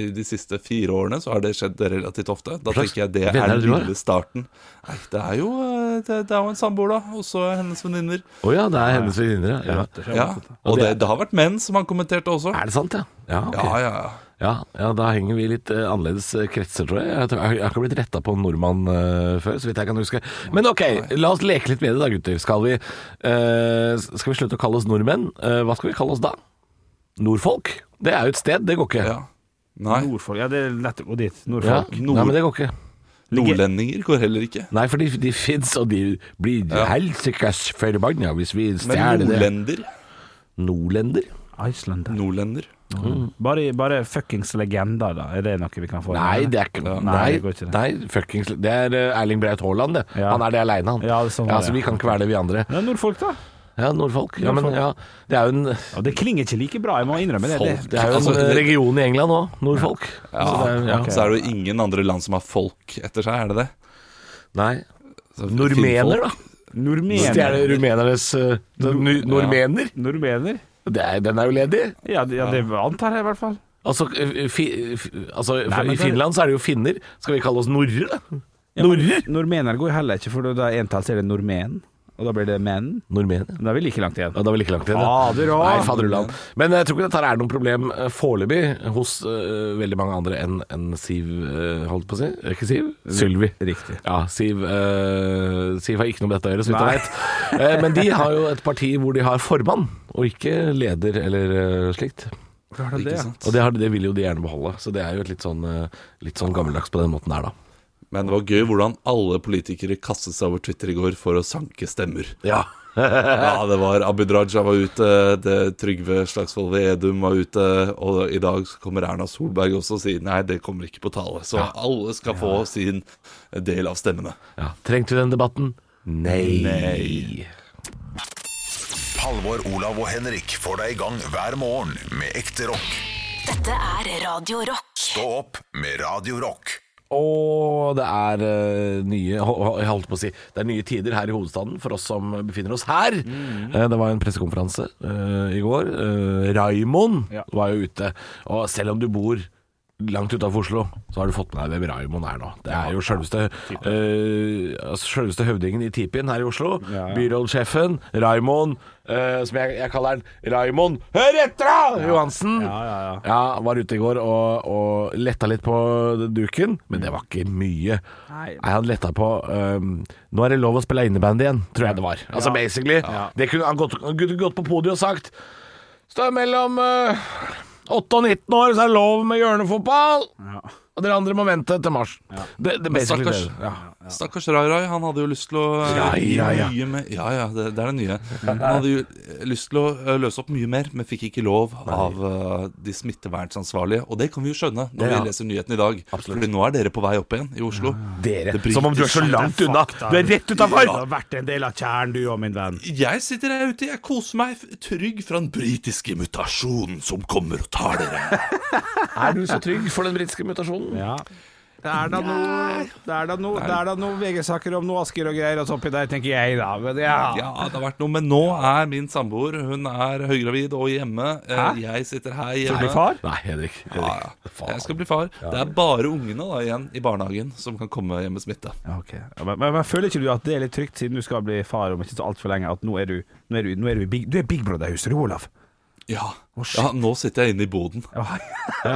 i de siste fire årene så har det skjedd relativt ofte. Da slags tenker jeg det venner er den du har? lille starten. Nei, det er jo eh, det, det er jo en samboer, da. Og så hennes venninner. Å ja, det er hennes venninner, ja. Ja. Og det, det har vært menn som han kommenterte også. Er det sant, ja? Ja, ok. Ja, ja, ja. ja, ja da henger vi i litt eh, annerledes eh, kretser, tror jeg. Jeg, tror, jeg har ikke blitt retta på en nordmann eh, før, så vidt jeg kan huske. Men ok, la oss leke litt med det da, gutter. Skal vi, eh, skal vi slutte å kalle oss nordmenn? Eh, hva skal vi kalle oss da? Nordfolk? Det er jo et sted, det går ikke. ja. Nei, Nordfolk. Ja, det er lett å gå dit. Ja. Nordfolk. Nei, men det går ikke. nordlendinger går heller ikke. Nei, for de, de fins, og de blir helsikas forbanna hvis vi Men stjeler det. nordlender Nordlender? Iceland. Nordlender. Mm. Bare, bare fuckings legender, da. Er det noe vi kan få? Nei, det er ikke Nei, Ja. Nei, det nei, går ikke det. fuckings Det er eh, Erling Braut Haaland, det. Ja. Han er det aleine, han. Ja, det er sånn det er. så vi kan ikke være det, vi andre. Ja, Nordfolk, da. Ja, nordfolk. Ja, men ja, det er jo en Ja, det klinger ikke like bra, jeg må innrømme det. Folk. det. Det er jo en Altså, eh, region i England òg, nordfolk. Ja. Så det er, ja. Så er det jo ingen andre land som har folk etter seg, er det det? Nei. Så Nordmener, da. Nordmener. Stjele rumenernes eh, nu- Nordmener? Nordmener? Det er, den er jo ledig. Ja, det, ja, det antar jeg i hvert fall. Altså, eh, fi, fi, altså Nei, men I det- Finland så er det jo finner. Skal vi kalle oss norrer, da? Norrer? Nordmener går jo heller ikke, for da er entalls er det nordmen, og da blir det menn. Nordmener. Da er vi like langt igjen. Ah, Ja, det er vel ikke langt igjen. ja. Fader òg. Nei, faderullan. Men jeg tror ikke dette her er noe problem eh, foreløpig hos eh, veldig mange andre enn enn Siv, eh, holdt på å si. Eh, Ikke Siv? Sylvi. Riktig. Ja, Siv, eh, Siv har ikke noe med dette å gjøre, så vidt Nei. jeg vet. Eh, men de har jo et parti hvor de har formann, og ikke leder eller eh, slikt. Finfolk, ikke sant? Og det, har, det vil jo de gjerne beholde, så det er jo et litt sånn, eh, litt sånn gammeldags på den måten der, da. Men det var gøy hvordan alle politikere kastet seg over Twitter i går for å sanke stemmer. Ja. Ja, det var Abid Raja var ute, det Trygve Slagsvold Vedum var ute, og i dag så kommer Erna Solberg også og sier nei, det kommer ikke på tale. Så alle skal få sin del av stemmene. ja. Trengte vi den debatten? Nei. Nei. Halvor, Olav og Henrik får deg i gang hver morgen med ekte rock. Dette er Radio Rock. Stå opp med Radio Rock. Og det er eh, nye ho- ho- Jeg holdt på å si Det er nye tider her i hovedstaden for oss som befinner oss her. Mm. Eh, det var en pressekonferanse eh, i går. Uh, Raimond Ja. var jo ute. Og selv om du bor langt utafor Oslo, så har du fått med deg hvem Raimond er nå. Det er jo sjølveste uh, Sjølveste høvdingen i tipien her i Oslo. Ja, ja. Byrådssjefen Raimond, eh, som jeg, jeg kaller han Raimond Hør etter, da! Johansen. Ja, ja, ja. Ja, var ute i går og, og letta litt på duken, men det var ikke mye. Nei. han letta på øhm, Nå er det lov å spille innebandy igjen, tror jeg det var. Altså basically. Det kunne han gått, han kunne gått på podiet og sagt Står mellom øh, 8 og 19 år, så er det lov med hjørnefotball! Og dere andre må vente til mars. Det, det er basically Stakkars, det. Ja. stakkars Rai Rai, han hadde jo lyst til å eh, Rai, ja, ja. gjøre mye mer Ja, ja, det, det er det nye. Han hadde jo eh, lyst til å eh, løse opp mye mer, men fikk ikke lov av eh, de smittevernansvarlige. Og det kan vi jo skjønne når Ja. vi leser nyheten i dag. Absolutt. Fordi nå er dere på vei opp igjen i Oslo. Dere. Det bryter Som om du er så sammen. langt unna. Du er rett utafor! Du har vært en del av kjernen, du òg, min venn. Jeg sitter her ute, jeg koser meg f- trygg fra den britiske mutasjonen som kommer og tar dere. Er du så trygg for den britiske mutasjonen? Ja. Det er da noe Det er da noe, det er da noe VG-saker om noe Asker og greier og så oppi der, tenker jeg, da. Men ja. Ja, det har vært noe, men nå er min samboer Hun er høygravid og hjemme. Eh, Hæ? Jeg sitter her Skal du bli hjemme. far? Nei, Henrik. Henrik. Ja, ja. Faen. Jeg skal bli far. Det er bare ungene da igjen i barnehagen som kan komme hjem med smitte. Ja, ok. Ja, men, men, men føler ikke du at det er litt trygt, siden du skal bli far om ikke så altfor lenge, at nå er du Nå er du, nå er du, i big, du er Big Brother-huset, du, Olav. Ja. ja, nå sitter jeg inne i boden.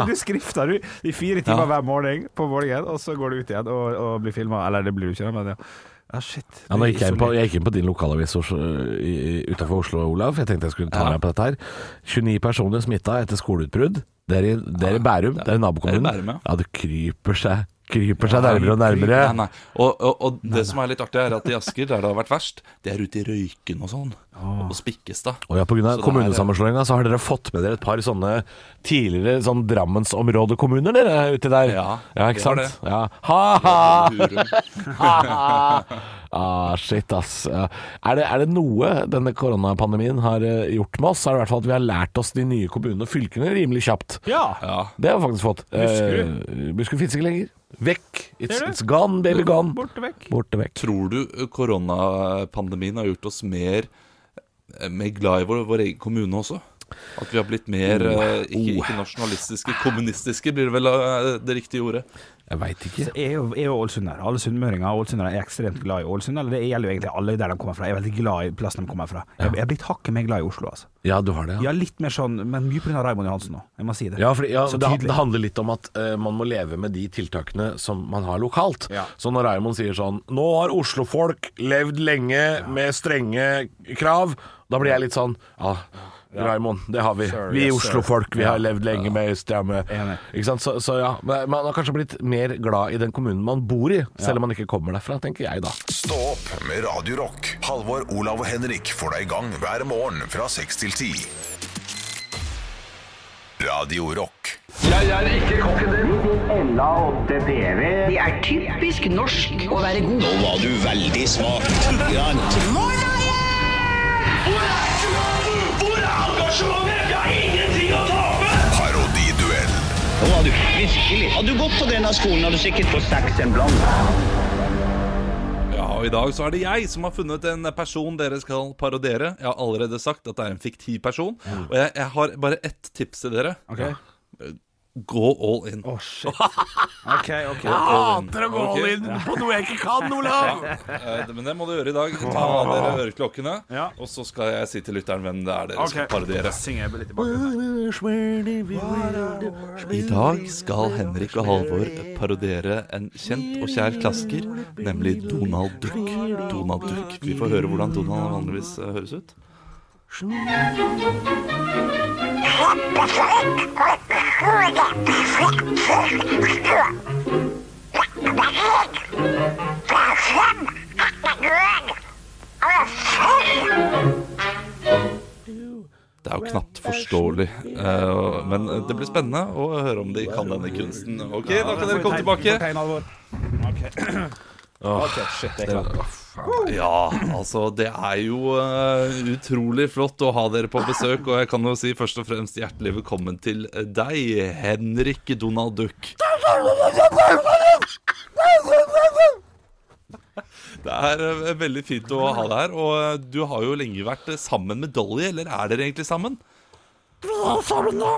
Du skrifter du i fire timer Ja. hver morgen på morgenen, og så går du ut igjen og, og blir filma. Eller det blir du ikke, da, men ja. ja shit. Ja, nå gikk jeg, inn på, Isolert. jeg gikk inn på din lokalavis utafor Oslo, Olav. Jeg tenkte jeg skulle ta Ja. deg på dette her. 29 personer smitta etter skoleutbrudd. Det er i, det er i Bærum, det er i nabokommunen. Det er i Bærum, ja. det kryper seg kryper seg nærmere og nærmere. Nei, nei. Og, og, og det som er litt artig, er at i Asker, der det har vært verst, det er ute i Røyken og sånn. Og Spikkestad. Og ja, Pga. Så det er- kommunesammenslåinga så har dere fått med dere et par sånne tidligere sånn Drammensområdekommuner, dere uti der. Ja, ikke vi har sant? det. Ja. Ha-ha! Hurum. ah, shit, ass. Ja. Er det, er det noe denne koronapandemien har eh, gjort med oss, så er det i hvert fall at vi har lært oss de nye kommunene og fylkene rimelig kjapt. Ja. Ja. Det har vi faktisk fått. Buskerud? Eh, Buskerud finnes ikke lenger. Vekk. It's, Ser du? it's gone, baby gone. Borte vekk. Borte vekk. Tror du eh, eh, koronapandemien har gjort oss mer, mer glad i vår, vår egen kommune også? At vi har blitt mer eh, ikke, ikke nasjonalistiske, kommunistiske blir vel eh, det riktige ordet. Jeg veit ikke. er jo, er jo ålesundere. Alle sunnmøringer og ålesundere er ekstremt glad i Ålesund. Eller det gjelder jo egentlig alle der de kommer fra. Jeg er veldig glad i plassen de kommer fra. Jeg, jeg er blitt hakket mer glad i Oslo, altså. Ja, du har det, Ja, litt mer sånn, men mye pga. Raymond Johansen nå. Jeg må si det. Ja, fordi, ja Så det, tydelig. det handler litt om at eh, man må leve med de tiltakene som man har lokalt. Ja. Så når Raymond sier sånn Nå har oslofolk levd lenge med strenge krav. Da blir jeg litt sånn Ja, Raymond, det har vi. Sir, vi yes, sir. oslofolk, vi har levd lenge med stramme Enig. Ikke sant. Så, så ja. Men man har kanskje blitt mer glad i den kommunen man bor i, selv om man ikke kommer derfra, tenker jeg da. Stå opp med Radio Rock. Halvor, Olav og Henrik får deg i gang hver morgen fra 6 til 10. Radio Rock. Det er typisk norsk å være god. var du veldig smak. Hvor er engasjementet? Vi har ingenting å tape! Parodiduell. Nå var du virkelig. Hadde du gått på denne skolen, hadde du sikkert fått seks en blant. Ja, og I dag så er det jeg som har funnet en person dere skal parodiere. Jeg har allerede sagt at det er en fiktiv person. Og jeg, jeg har bare ett tips til dere. Ok. Gå all in. Å, shit. OK, OK. Hater å gå all in. på noe jeg ikke kan, Olav! Eh, Men det må du gjøre i dag. Ta av dere øreklokkene, Ja. og så skal jeg si til lytteren hvem det er dere skal parodiere. Synger jeg litt i bakgrunnen. I dag skal Henrik og Halvor parodiere en kjent og kjær klasker, nemlig Donald Duck. Donald Duck. Vi får høre hvordan Donald vanligvis eh, høres ut. Det er jo knapt forståelig. eh, Men det blir spennende å høre om de kan denne kunsten. Ok, da kan dere komme tilbake. Tegn alvor. OK, shit, det er klart. Ja, altså det er jo eh, utrolig flott å ha dere på besøk. Og jeg kan jo si først og fremst hjertelig velkommen til eh, deg, Henrik Donald Duck. Det er eh, veldig fint å ha deg her. Og eh, du har jo lenge vært eh, sammen med Dolly, eller er dere egentlig sammen? Vi er sammen nå.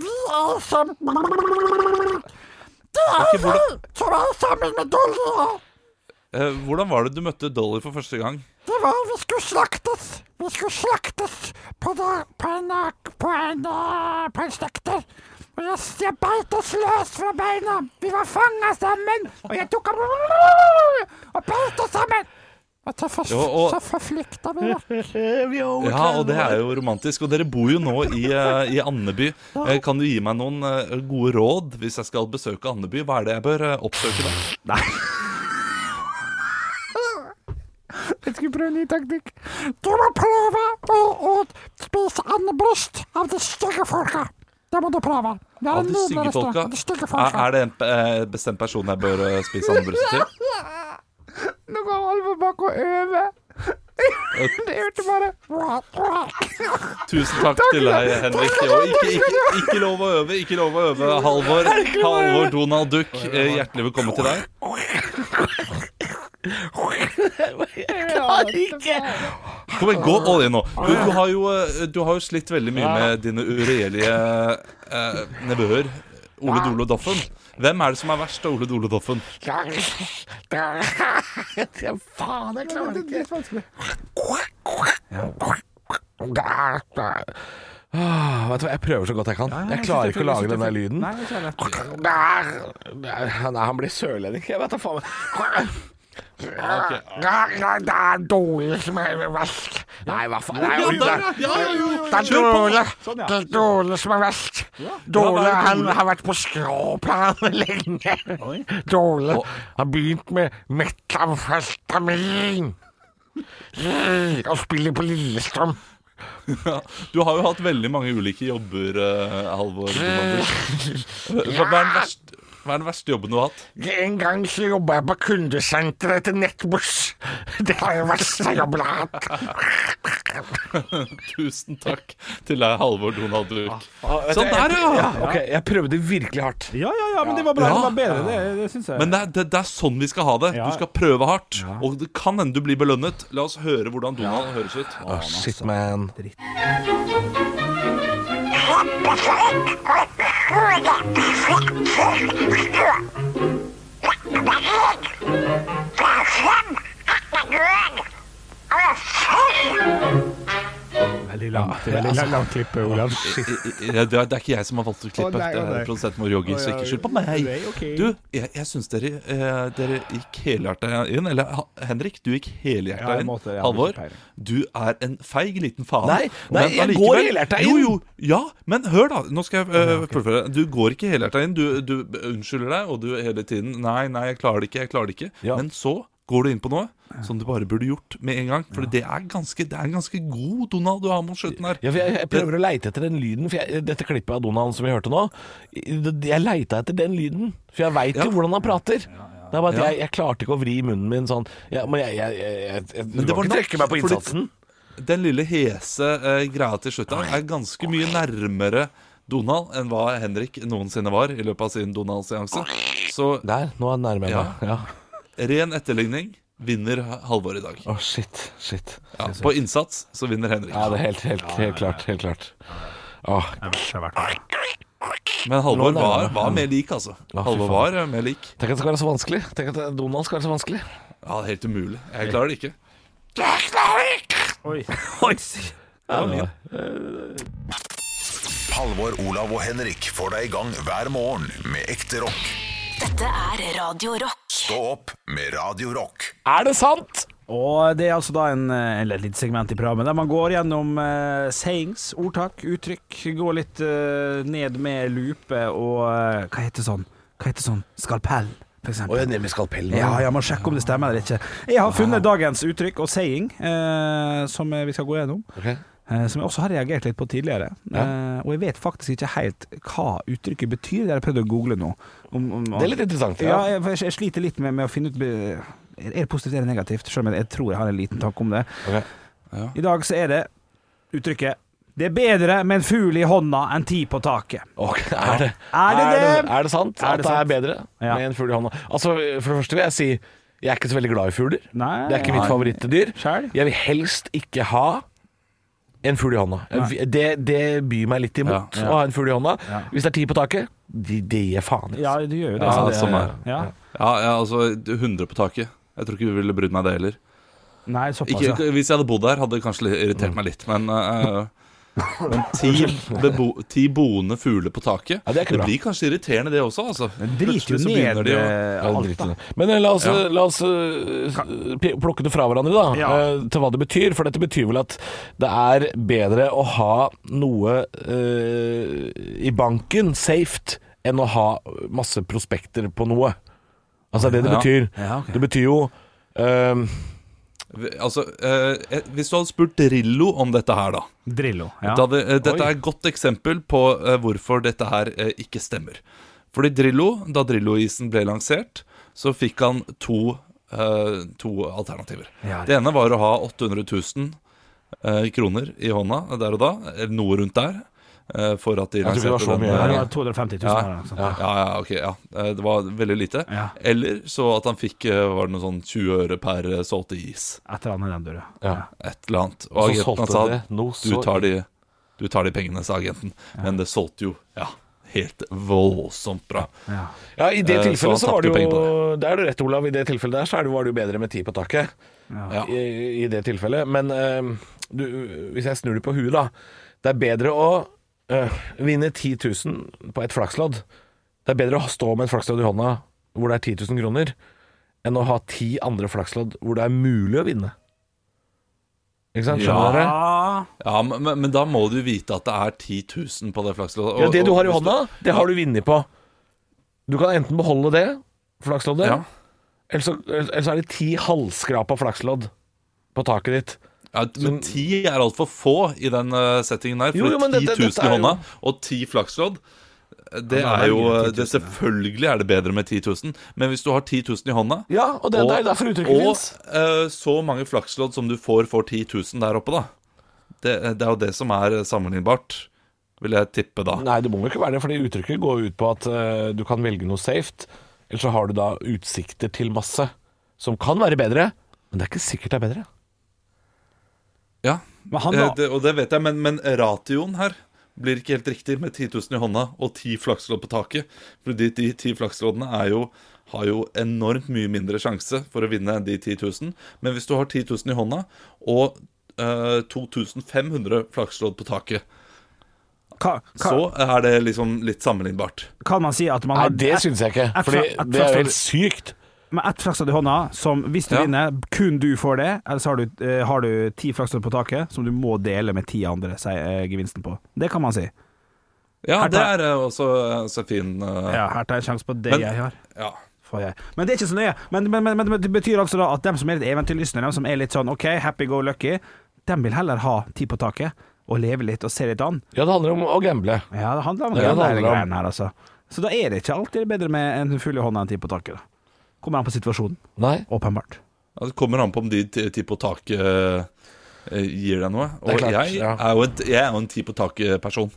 Vi er sammen Eh, Hvordan var det du møtte Dolly for første gang? Det var vi skulle slaktes. Vi skulle slaktes på, da, på en, eh, på en, eh, på en slakter. Og jeg, jeg beit oss løs fra beina. Vi var fanga sammen. Og jeg tok ham og beit oss sammen. Og så, for, Jo, og- så forflykta vi vekk. Ja, og det er jo romantisk. Og dere bor jo nå i, eh, i Andeby. Eh, Kan du gi meg noen eh, gode råd hvis jeg skal besøke Andeby? Hva er det jeg bør eh, oppsøke da? Jeg skulle prøve en ny taktikk. Du må prøve å, å spise andebryst av de stygge folka. Det må du prøve. Det er Av en de nydelig stygge restaurant. folka? De stygge Er- folka. Er det en eh, bestemt person jeg bør eh, spise andebryst til? Nå går Alvor bak og øver. Det hørte bare Tusen takk til deg, Henrik. Og ikke, ikke, ikke lov å øve, ikke lov å øve. Halvor, Halvor Donald Duck, eh, hjertelig velkommen til deg. Kom igjen, gå all in nå. Du, du, har jo, eh, du har jo slitt veldig mye med dine uregjerlige eh, nevøer. Ole Dole og Doffen. Hvem er det som er verst av Ole Dole og Doffen? Faen, jeg klarer det ikke. Ah, vet du hva, Jeg prøver så godt jeg kan. Jeg klarer ikke å lage den der lyden. Nei, ikke heller. Nei, han, han blir sørlending. Jeg vet da faen. Det er dårlig som er verst. Nei, hva faen. Nei, Ja, oi, der, det, ja, ja, ja, ja. det er Kjør på. dårlig. Sånn, ja. Det er dårlig som er verst. Ja, Dårlig, hva er han dårlig? har vært på skråplanet lenge. Dårlig. Har begynt med metamfetamin. Og spiller på Lillestrøm. Ja. Du har jo hatt veldig mange ulike jobber, eh, Halvor. Donald Duck. Hva hva er, den verste, hva er den verste jobben du har hatt? En gang så jobba jeg på kundesenteret til Nettbuss. Det er det verste jobben jeg har hatt. Tusen takk til deg, Halvor Donald Duck. Sånn jeg- der, ja! Ok, jeg prøvde virkelig hardt. Ja, ja, ja, men det var bra. Ja. Det var bedre, det, det syns jeg. Men det er, det, det er sånn vi skal ha det. Ja. Du skal prøve hardt. Og det kan hende du blir belønnet. La oss høre hvordan Donald høres ut. Shit, man. Veldig langt, veldig Altså, langt klippe, Olav. Shit. Ja, det, er, det er ikke jeg som har valgt ut Å, klippet. nei, å, det nei. er produsent Mor Yogi, så ikke skyld på meg. Det er ok. Du, jeg, jeg syns dere, eh, dere gikk helhjerta inn. Eller ha- Henrik, du gikk helhjerta Ja, jeg inn. måtte, jeg hadde Halvor, ikke peiling. du er en feig liten faen. Nei, nei, jeg går helhjerta inn. Jo, jo, ja, men hør, da. Nå skal jeg eh, fullføre. Du går ikke helhjerta inn. Du, du unnskylder deg, og du hele tiden Nei, nei, jeg klarer det ikke, jeg klarer det ikke. Ja. Men så går du inn på noe som du bare burde gjort med en gang. For det, er ganske, det er en ganske god Donald du har mot slutten her. Ja, for jeg, jeg prøver å leite etter den lyden, for jeg, dette klippet av Donald som vi hørte nå Jeg leita etter den lyden, for jeg veit Ja. jo hvordan han prater. Det er bare at Ja. jeg, jeg klarte ikke å vri munnen min sånn ja, Men jeg, jeg, jeg, jeg, jeg du kan det var ikke nok, trekke meg på fordi- innsatsen. den lille hese eh, greia til slutt her er ganske mye nærmere Donald enn hva Henrik noensinne var i løpet av sin Donald-seanse. Så Der, nå er den nærme Ja. meg. Ja. Å, ren etterligning vinner Halvor i dag. shit. Shit. Ja, på innsats så vinner Henrik. Ja, det er helt, helt, helt klart. Helt klart. Åh, Men Halvor Nå er det var, nærmere. var mer lik, altså. Ja, fy Halvor faen. var eh, mer lik. tenk at det skal være så vanskelig. Tenk at Donald skal være så vanskelig. Ja, det er helt umulig. Jeg klarer det ikke. Oi. Halvor, Olav og Henrik får deg i gang hver morgen med ekte rock. Dette er Radio Rock. Stå opp med Radio Rock. Er det sant? Og det er altså da en, eller et lite segment i programmet der man går gjennom eh, sayings, ordtak, uttrykk. Går litt eh, ned med lupe og eh, Hva heter sånn? Hva heter sånn? Skalpell, for Å, eksempel. jeg er ned med skalpellen. Ja, jeg må sjekke om det stemmer eller ikke. Jeg har funnet dagens uttrykk og saying, eh, som eh, vi skal gå gjennom. Ok. eh, som jeg også har reagert litt på tidligere. Eh, og jeg vet faktisk ikke helt hva uttrykket betyr. Det har jeg prøvd å google nå. Om, om, Det er litt interessant. ja, jeg, for jeg, jeg sliter litt med, med å finne ut be- Er det positivt eller negativt, selv om jeg, jeg tror jeg har en liten tanke om det. Ok. I dag så er det uttrykket 'Det er bedre med en fugl i hånda enn ti på taket'. Ok, er det Er det det? Er det sant Er at det det sant? er bedre Ja. med en fugl i hånda? Altså, For det første vil jeg si jeg er ikke så veldig glad i fugler. Nei. Det er ikke mitt favorittdyr. Skjær. Jeg vil helst ikke ha en fugl i hånda. Jeg- Det, det byr meg litt imot Ja, ja. å ha en fugl i hånda. Hvis det er ti på taket, det de gir jeg faen i. Ja, du gjør jo det. Ja, sant? sånn er. ja. Ja, ja, altså 100 på taket. Jeg tror ikke du ville brydd meg det heller. Nei, såpass, Ikke, ja. hvis jeg hadde bodd der, hadde det kanskje irritert meg litt, men eh, men ti, bebo, ti boende fugler på taket Ja, det er ikke Det bra. blir kanskje irriterende, det også. Altså. Den driter Plutselig så jo begynner ned de å- eh, Ja, alt, drit i da. det. Men eh, la oss, Ja. la oss eh, s- p- plukke det fra hverandre, da. eh, Til hva det betyr. For dette betyr vel at det er bedre å ha noe eh, i banken, safet, enn å ha masse prospekter på noe. Altså det det Ja. betyr. Ja, ok. Det betyr jo eh, Vi- Altså, eh, eh, Hvis du hadde spurt Drillo om dette her, da Drillo. Ja. da hadde, eh, Dette Oi. er et godt eksempel på eh, hvorfor dette her eh, ikke stemmer. Fordi Drillo, da Drillo-isen ble lansert, så fikk han to, eh, to alternativer. Ja, det ene var å ha 800 000 eh, kroner i hånda der og da, eller noe rundt der, eh, for at de tror ikke det var så mye. Ja, eh, det var 250 000 her, altså. ja, ja, ok, ja. Eh, Det var veldig lite. Ja. Eller så at han fikk eh, var det noe sånn 20 øre per eh, solgte is. Et eller annet i den døra. ja. Et eller annet. Og Så agenten solgte sa det noe du så- tar, de, du tar de pengene, sa agenten. Men det solgte jo ja, helt voldsomt bra. Ja. Ja, i det Eh, så han tilfellet så var tapte det penger jo på Der er du rett, Olav. I det tilfellet der så er det, var det jo bedre med ti på taket. Ja. I, I det tilfellet. Men eh, du, hvis jeg snur det på huet, da. Det er bedre å eh, vinne 10 000 på et flakslodd. Det er bedre å stå med et flakslodd i hånda hvor det er 10 000 kroner, enn å ha ti andre flakslodd hvor det er mulig å vinne. Ikke sant? Skjønner dere? Ja. Ja, men, men, men da må du vite at det er 10 000 på det flaksloddet. Ja, Og- det du og har i hvis hånda, det har du vunnet på. Du kan enten beholde det, flaksloddet, Ja. eller, så, eller så er det ti halvskrapa flakslodd på taket ditt. Ja, men ti er altfor få i den eh, settingen der. Jo, For jo, men 10 dette- 000 dette i er jo- hånda og ti flakslodd det Ja, da er er det jo mye eh, 10 000, det, Selvfølgelig er det bedre med 10 000, men hvis du har 10 000 i hånda Ja, og det, det er jo derfor uttrykket og, fins. eh, så mange flakslodd som du får for 10 000 der oppe, da. Det, det er jo det som er sammenlignbart, vil jeg tippe da. Nei, det må jo ikke være det, fordi uttrykket går jo ut på at eh, du kan velge noe safe, eller så har du da utsikter til masse, som kan være bedre, men det er ikke sikkert det er bedre. Ja, Men han eh, da det, og det vet jeg, men, men ratioen her blir ikke helt riktig med 10 000 i hånda og 10 flakslodd på taket. For de, de 10 flaksloddene er jo, har jo enormt mye mindre sjanse for å vinne enn de 10 000. Men hvis du har 10 000 i hånda og eh, 2500 flakslodd på taket, Ka, ka, så er det liksom litt sammenlignbart. kan man si at man Nei, har det syns jeg ikke. Fordi et det er jo flakslodd- helt sykt. med ett flakslodd i hånda, som hvis du Ja. vinner, kun du får det, eller så har du, eh, har du ti flakslodd på taket som du må dele med ti andre seg, eh, gevinsten på. Det kan man si. Ja, Her det tar- er eh, også også fin eh, Ja, her tar jeg en sjanse på det Men- jeg har. ja. Får jeg. Men det er ikke så nøye. Men, men, men, men det betyr altså da at dem som er litt eventyrlystne, dem som er litt sånn OK, happy go lucky, dem vil heller ha ti på taket og leve litt og se litt an. Ja, det handler om å gamble. Ja, det handler om Det er det greiene, det hele handler om. greien her, altså. Så da er det ikke alltid bedre med en full i hånda enn ti på taket. Da. Kommer an på situasjonen, Nei. åpenbart. Ja, Det kommer an på om de ti ti på taket eh, gir deg noe. Det Og er klart, jeg, ja. er jo en, jeg er jo en ti på taket-person.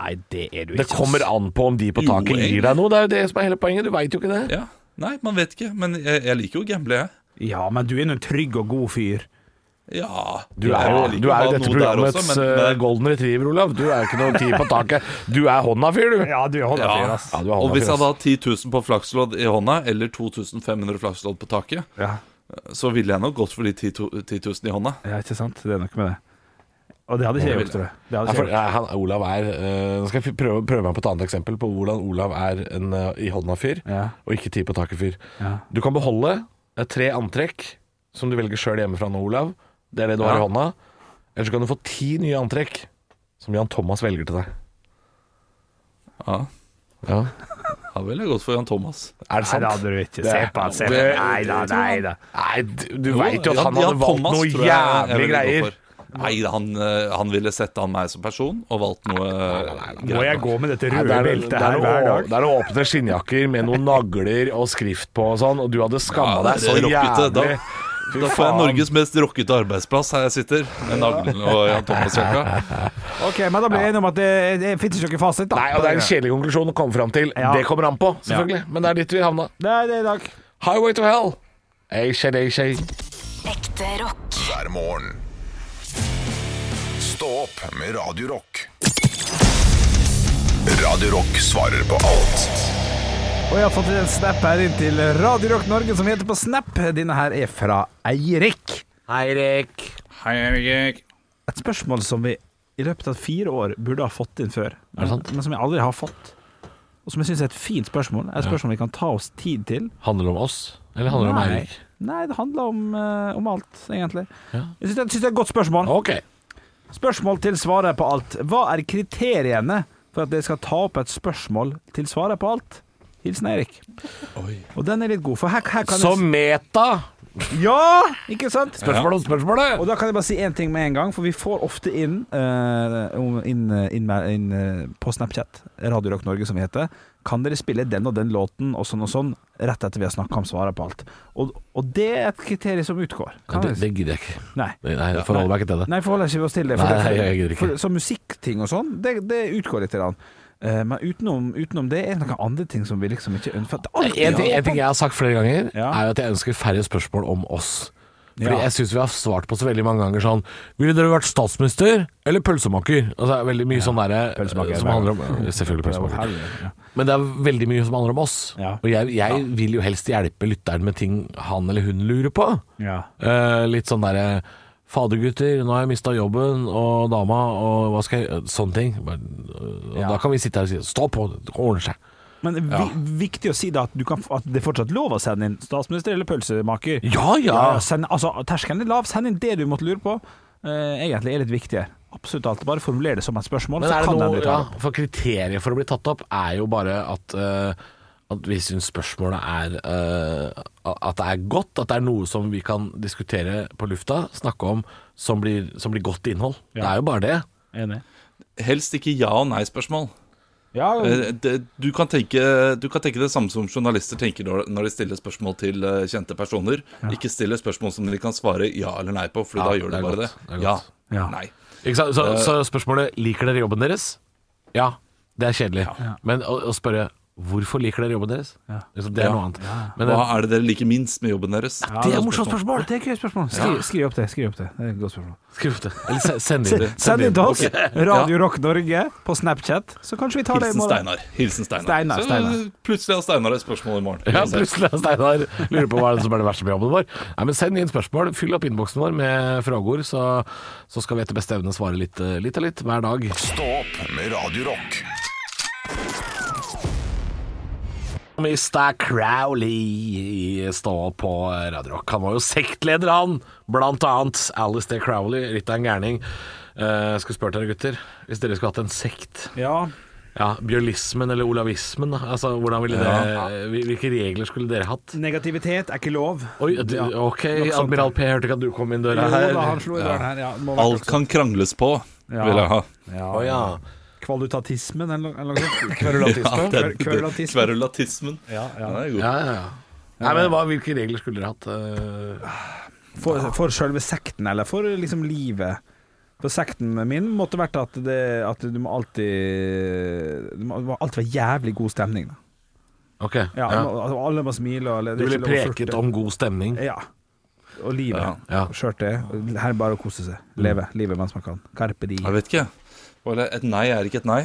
Nei, det er du Det ikke. kommer an på om de på Jo, taket egentlig. gir deg noe. Det er jo det som er hele poenget. Du veit jo ikke det. Ja. Nei, man vet ikke, men jeg, jeg liker jo å gamble, jeg. Ja, men du er nå en trygg og god fyr. Ja Du er jeg jo, liker du å er ha jo dette noe der programmets også, men- men- eh, golden retriever, Olav. Du er jo ikke noen tid på taket. Du er hånda-fyr, du. Ja, du er ja. håndafyr, Ja, du er Og hånda-fyr. hvis jeg hadde hatt 10 000 på flakslodd i hånda, eller 2500 flakslodd på taket, Ja. så ville jeg nok gått for de 10 to- 10 000 i hånda. ja, ikke sant? Det er noe med det. Og det hadde ikke jeg gjort, tror jeg. Det Ja, hadde for, ikke jeg gjort. ja, han, Olav er eh, Nå skal jeg fi- prøve, prøve meg på et annet eksempel på hvordan Olav er en eh, i hånda-fyr, Ja. og ikke tid på taket-fyr. Ja. Du kan beholde eh, tre antrekk som du velger sjøl hjemmefra nå, Olav. Det er det du har i Ja. hånda. Eller så kan du få ti nye antrekk som Jan Thomas velger til deg. Ja, Ja. da ville jeg gått for Jan Thomas. Er det Nei, sant? det hadde du ikke. Det- Se på han, se på han. Nei da, nei da. Nei, du, du Jo, veit jo at Jan- han hadde Jan valgt Thomas noe tror jeg jeg jævlig ville gå greier. for. Nei, han, eh, han ville sett an meg som person og valgt noe eh, Må jeg gå med dette Nei, røde det er- beltet det er her noe- hver dag? Det er noen åpne skinnjakker med noen nagler og skrift på og sånn, og du hadde skamma Ja, deg det er så rockete. Da- jævlig. Fy Da får jeg faen. Norges mest rockete arbeidsplass her jeg sitter, med naglen og Jan Thomas-jakka. OK, men da ble jeg enig om at det, det finnes ikke noen fasit, da. Nei, og det er en kjedelig konklusjon å komme fram til. Ja. Det kommer an på, selvfølgelig. Men det er dit vi havna. Det er det i dag. Highway to hell. Ei skje, ei skje. Ekte rock. hver morgen. Stå opp med Radio Rock. Radio Rock svarer på alt Og jeg har fått en snap her inn til Radio Rock Norge som heter på Snap. Denne her er fra Eirik. Eirik. Et spørsmål som vi i løpet av fire år burde ha fått inn før, det sant? men som jeg aldri har fått. Og som jeg syns er et fint spørsmål. Et spørsmål vi kan ta oss tid til. Handler det om oss, eller handler det om Nei. Eirik? Nei, det handler om, eh, om alt, egentlig. Ja. Jeg syns det, synes det er et godt spørsmål. Ok. Spørsmål til svaret på alt. Hva er kriteriene for at dere skal ta opp et spørsmål til svaret på alt? Hilsen Eirik. Og den er litt god, for her, her kan Så meta. jeg Ja! Ikke sant? Spørsmål om spørsmålet. Og da kan jeg bare si én ting med en gang, for vi får ofte inn, eh, om- inn, eh, inn, med- inn eh, på Snapchat, Radio Rock Norge som vi heter, kan dere spille den og den låten og sånn og sånn rett etter vi har snakka om svaret på alt. Og, og det er et kriterium som utgår. Kan Det, jeg si? det gidder jeg ikke. Nei. Nei, jeg forholder meg ikke til det. Nei, forholder ikke vi oss til det. Nei, det- nei, jeg gidder ikke. For, så musikkting og sånn, det, det utgår litt. Grann. Eh, men utenom, utenom det er det noen andre ting som vi liksom ikke ønsker Det er alltid En ting, åpent. en ting jeg har sagt flere ganger, Ja. er jo at jeg ønsker færre spørsmål om oss. Fordi Ja. jeg syns vi har svart på så veldig mange ganger sånn Ville dere vært statsminister eller pølsemaker? Altså, det er veldig mye sånn derre eh, Pølsemaker, som hver handler om Selvfølgelig pølsemaker. Men det er veldig mye som handler om oss. Ja. Og jeg, jeg vil jo helst hjelpe lytteren med ting han eller hun lurer på. Ja. Eh, litt sånn derre Fader, gutter, nå har jeg mista jobben og dama, og hva skal jeg Sånne ting. Bare, og Ja. Da kan vi sitte her og si Stå på, det ordner seg. Men vi, viktig å si da at, du kan, at det er fortsatt lov å sende inn statsminister eller pølsemaker. Ja, ja. Ja, send, altså, terskelen er lav. Send inn det du måtte lure på. Eh, egentlig er litt viktig her. Absolutt alt. Bare formuler det som et spørsmål, Men så er det kan den noe, bli ja, tatt opp. for kriteriet for å bli tatt opp er jo bare at, eh, at vi syns spørsmålet er eh, At det er godt, at det er noe som vi kan diskutere på lufta, snakke om, som blir, som blir godt innhold. Det er jo bare det. Enig. Helst ikke ja- og nei-spørsmål. Ja, Eh, det- Du, kan tenke- du kan tenke det samme som journalister tenker når når de stiller spørsmål til eh, kjente personer. Ikke stille spørsmål som de kan svare ja eller nei på, for da det gjør de er bare godt, det. det er ja. godt. Ja. Nei. Ikke sant? Så, så spørsmålet liker dere jobben deres? Ja. Det er kjedelig. Men å, å spørre Hvorfor liker dere jobben deres? Ja. Liksom, Det er Ja. noe annet. Men eh, Hva det, er det dere liker minst med jobben deres? det er et morsomt spørsmål! Det er et gøy spørsmål. Skriv, skriv opp det. skriv opp Det Det er et godt spørsmål. Skriv det. Eller se- send inn det. Send inn til oss, Ok. Radio Rock Norge, på Snapchat, så kanskje vi tar det i Hilsen morgen. Steinar. Hilsen Steinar. Steinar, Så, Steinar. Plutselig har Steinar et spørsmål i morgen. Ja, plutselig er Steinar lurer på hva er det som er det verste med jobben vår. Nei, men Send inn spørsmål. Fyll opp innboksen vår med fragår, så, så skal vi etter beste evne svare litt, eh, litt og litt hver dag. Stå opp med Radio Rock. Mr. Crowley stå på Radio Rock. Han var jo sektleder, han. Blant annet Alistair Crowley, litt av en gærning. Eh, skulle spurt dere, gutter, hvis dere skulle hatt en sekt Ja, Ja, Bjørlismen eller olavismen, da. altså hvordan ville det hvil- Hvilke regler skulle dere hatt? negativitet er ikke lov. Oi, du, Ja. OK, Nok sånt. Admiral P, hørte ikke at du kom inn døra Jo her. da, han slo i døren her. Ja, det må være Alt kan krangles på, Ja. vil jeg ha. Ja, Å ja. Kvalutatismen eller eller noe sånt. Ja, Kverulatisme. den- den- Kverulatismen. Ja, ja. Den er god. Ja, ja, ja. Nei, men hva, Hvilke regler skulle dere hatt? eh? For, for selve sekten, eller for liksom livet? For sekten min måtte vært at, det, at du må alltid Det må, det må alltid være jævlig god stemning. Da. OK. Ja, ja. må- altså, Alle må smile. Og, det Du er ville ikke lov å Eh, preket flørte. om god stemning? Ja. Og livet. Ja. Ja. Skjørt det. Her er bare å kose seg. Leve livet mens man kan. Carpe di. Jeg vet ikke. Var det Et nei er ikke et nei.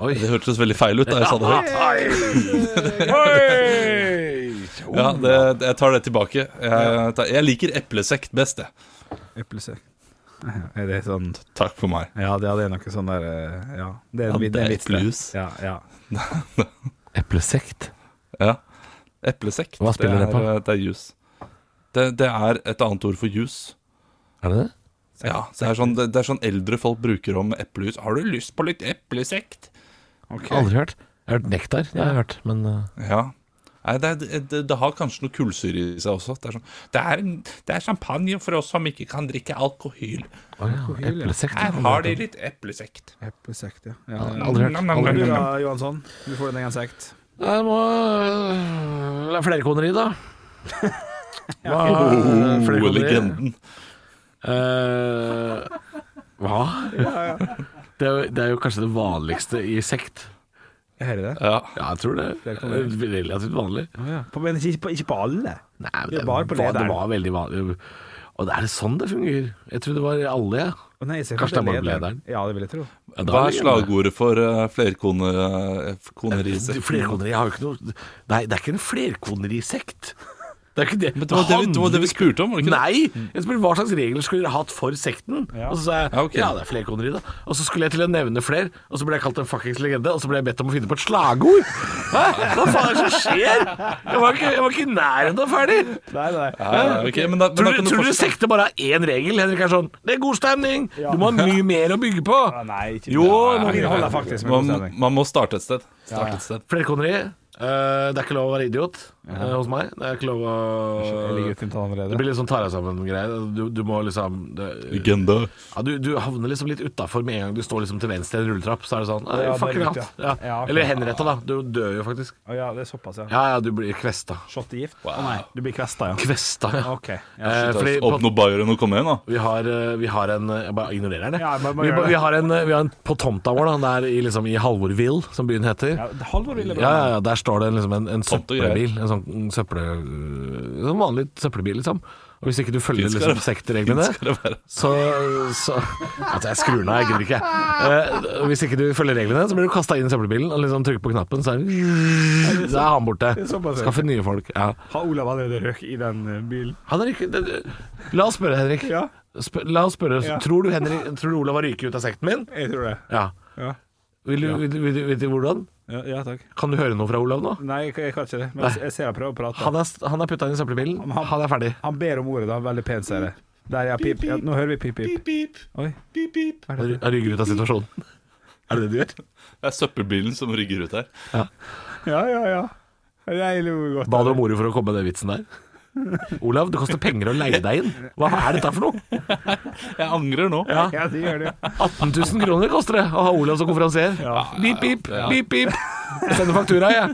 Oi. Det hørtes veldig feil ut da jeg sa det høyt. Ja, Oh. det, jeg tar det tilbake. Jeg, tar, jeg liker eplesekt best, jeg. Eplesøk. Er det sånn Takk for meg. Ja, det ja, det er noe sånn der eh, Ja, det er en, det er Ja, en det er vits. det. blues. Ja, ja. Eplesekt? Ja. Eplesekt. Hva spiller det det er, på? Det er juice. Det, det er et annet ord for juice. Er det det? Ja, det er, sånn, det, det er sånn eldre folk bruker om eplejus. Har du lyst på litt eplesekt? Aldri hørt. Jeg har hørt nektar, det har jeg hørt, men eh, Ja. Nei, det, er- det, det har kanskje noe kullsyre i seg også. Det er, sånn, det, er en, det er champagne for oss som ikke kan drikke alkohol. å ja, eplesekt. Her har de litt eplesekt. Eplesekt, ja. ja, ja. Aldri hørt. Nam, nam, Og Aldri Du hørt. da, Johansson? Du får din egen sekt. Jeg må øh, la flere koner i, da. Hva, øh, flere Oh, koner i? legenden. Eh, hva? Det er, jo, det er jo kanskje det vanligste i sekt. Jeg hører det. Ja. Ja, jeg tror det. Flere koner i. Eh, Relativt vanlig. På, men ikke, på, ikke på alle. Nei, men Det det, var var, på det lederen. var veldig vanlig. Og det er det sånn det fungerer. Jeg trodde det var alle, jeg. Å, Nei, jeg ser Kanskje kanskje det er bare lederen. Ja, det vil jeg tro. Ja, da Hva er er det slagordet for eh, uh, flerkoneri? Flerkoneri har jo ikke noe Nei, det er ikke en flerkonerisekt. Det er ikke det. Men det var det vi- det var det handler vi jo spurte om, var det ikke Nei! Jeg spurte hva slags regler skulle dere hatt for sekten. Og så sa jeg Ja, Ah, ok. ja, det er flerkoneri, da. Og så skulle jeg til å nevne fler, og så ble jeg kalt en fuckings legende, og så ble jeg bedt om å finne på et slagord. Hæ? Hva faen er det som skjer? Jeg var ikke, jeg var ikke i nærheten av ferdig. Nei, nei. Ja, ok, men da, men da Tror du, kan tror du du fortsette. sekter bare har én regel? Henrik er sånn Det er god stemning! Du må ha mye mer å bygge på! Ja, Ah, nei ikke Ah. Jo, Nei, nå- vi holder faktisk med god man, stemning. man må starte et sted. Starte et sted. Flerkoneri. eh, det er ikke lov å være idiot eh, hos meg. Det er ikke lov å Jeg ligger ute i tann allerede. Det blir litt sånn tar deg sammen-greie. Du, du må liksom det, Legende. ja, du, du havner liksom litt utafor med en gang du står liksom til venstre i en rulletrapp. Så er det sånn «Nei, Ja, Fuck det er it, litt, hatt. ja. Ja. Ja, ok. Eller henretta, da. Du dør jo faktisk. Å ja, det er såpass, ja. Ja, ja, du blir kvesta. Shot i gift? Å nei, du blir kvesta, ja. Kvesta, ja. OK. Ja. Eh, fordi Åpne på, opp Bayern og komme igjen, da. vi, har, eh, vi har en Jeg bare ignorerer den, jeg. Ja, bare- bare vi, gjør det. vi, har en, eh, vi har en på tomta vår, da. Der i, liksom, i Halvorville, som byen heter. ja det- Halvor ville Ja, ja, ja, der står det en- liksom en, en Tomt og greier. søppelbil. En sånn en søpple... En sånn vanlig søppelbil, liksom. Og hvis ikke du følger Fint skal liksom, det- sektreglene, fint skal det være. så, så Altså, jeg skrur den av, jeg gidder ikke. Eh, hvis ikke du følger reglene, så blir du kasta inn i søppelbilen og liksom trykker på knappen, så er den Da er han borte. er såpass, ja. Skaffe nye folk. Ja. Har Olav allerede røk i den eh, bilen? Han er ikke det, det- La oss spørre, Henrik. Ja. Spør, la oss spørre. Ja. Tror du Henrik Tror du Olav har ryket ut av sekten min? Jeg tror det. Ja. Ja, Vil du, vil, du- vil, du- vil du hvordan? ja, ja takk. Kan du høre noe fra Olav nå? Nei, jeg, jeg kan ikke det. Men jeg, jeg ser jeg prøver å prate. Han er, han er putta inn i søppelbilen. han- Han er ferdig. Han ber om ordet, da. Veldig pent, ser jeg. Der, ja. Pip. Ja, nå hører vi pip-pip. Oi. Han ry- han rygger ut av situasjonen. Er det det du gjør? Det er søppelbilen som rygger ut her. Ja, ja, ja. Jeg lo godt. Ba du om ordet for å komme med den vitsen der? Olav, det koster penger å leie deg inn. Hva er dette for noe? Jeg angrer nå. Ja, det gjør det. 18 000 kroner koster det å ha Olav som konferansier. Pip, pip, pip, pip. Jeg Sender faktura, jeg.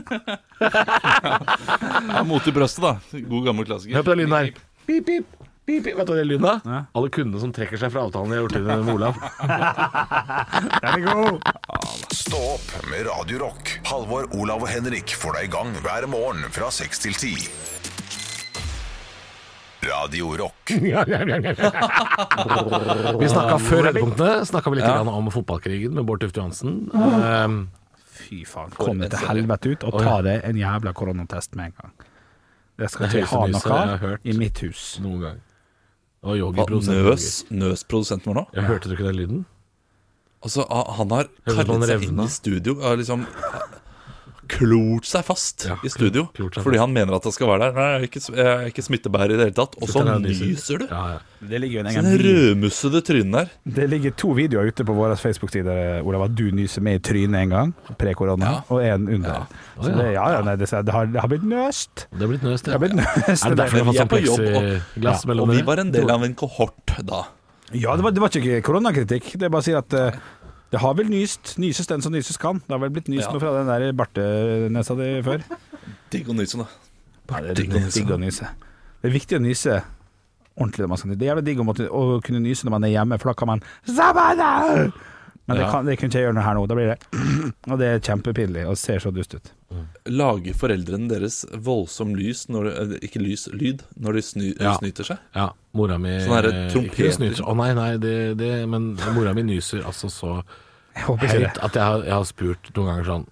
Jeg er mot i brøstet, da. God gammel klassiker. Hør på den lyden her. Pip, pip. Pip, pip. Vet du hva den lyden er? Alle kundene som trekker seg fra avtalen de har gjort inn med Olav. Den er god. Stå opp med Radio Rock. Halvor, Olav og Henrik får deg i gang hver morgen fra 6 til 10. Radio Rock. Vi snakka før høydepunktene snakket vi litt grann om fotballkrigen med Bård Tufte Johansen. Ehm, Fy faen, kom deg til helvete ut og ta deg en jævla koronatest med en gang. Det skal Det er ikke ha høyeste nyset jeg noe har av hørt. i mitt hus. noen gang. Og Yogi Hva, produsenten Nøs, Yogi. nøs produsenten vår nå? Ja, hørte du ikke den lyden? Altså, ah, han har Høres ut som karret han seg inn revna. i studio og liksom ah, klort seg fast Ja, i studio klort seg fordi fast. han mener at han skal være der. Nei, jeg er ikke, jeg er ikke smittebærer i det hele tatt. Og så Sitter der og nyser Sånn du. Ja, ja. Det ligger, jo en Så egen Det video- rødmussede trynet der. Sånn det ligger to videoer ute på våre Facebook-sider, Olav, at du nyser med i trynet en gang, pre-korona, Ja. og en under. Så det, ja, ja, nei, det, det, har, det har blitt nøst. Det har blitt nøst, Det har blitt nøst. Er det derfor Men det var vi er sånn på jobb, og- pleksiglass Og mellom vi var en del av en kohort da. Ja, det var, det var ikke koronakritikk. Det er bare å si at eh, det har vel nyst. Nyses den som nyses kan. Det har vel blitt nyst Ja. noe fra den der bartenesa di før. Digg å nyse, da. Ja, det er digg, å- digg å nyse. Det er viktig å nyse ordentlig når man skal nyse. Det er jævlig digg å, måtte, å kunne nyse når man er hjemme, for da kan man Zabada! Men det, Ja. kan, det kunne ikke jeg gjøre noe her nå. Da blir det Og det er kjempepinlig og ser så dust ut. Lager foreldrene deres voldsom lys når, eh, Ikke lys, lyd når de sny, Ja. snyter seg? Ja, mora mi Sånn der eh, trompet. ikke snyter. Å nei, nei, det, det Men mora mi nyser altså så Jeg håper ikke høyt det. at jeg har, jeg har spurt noen ganger sånn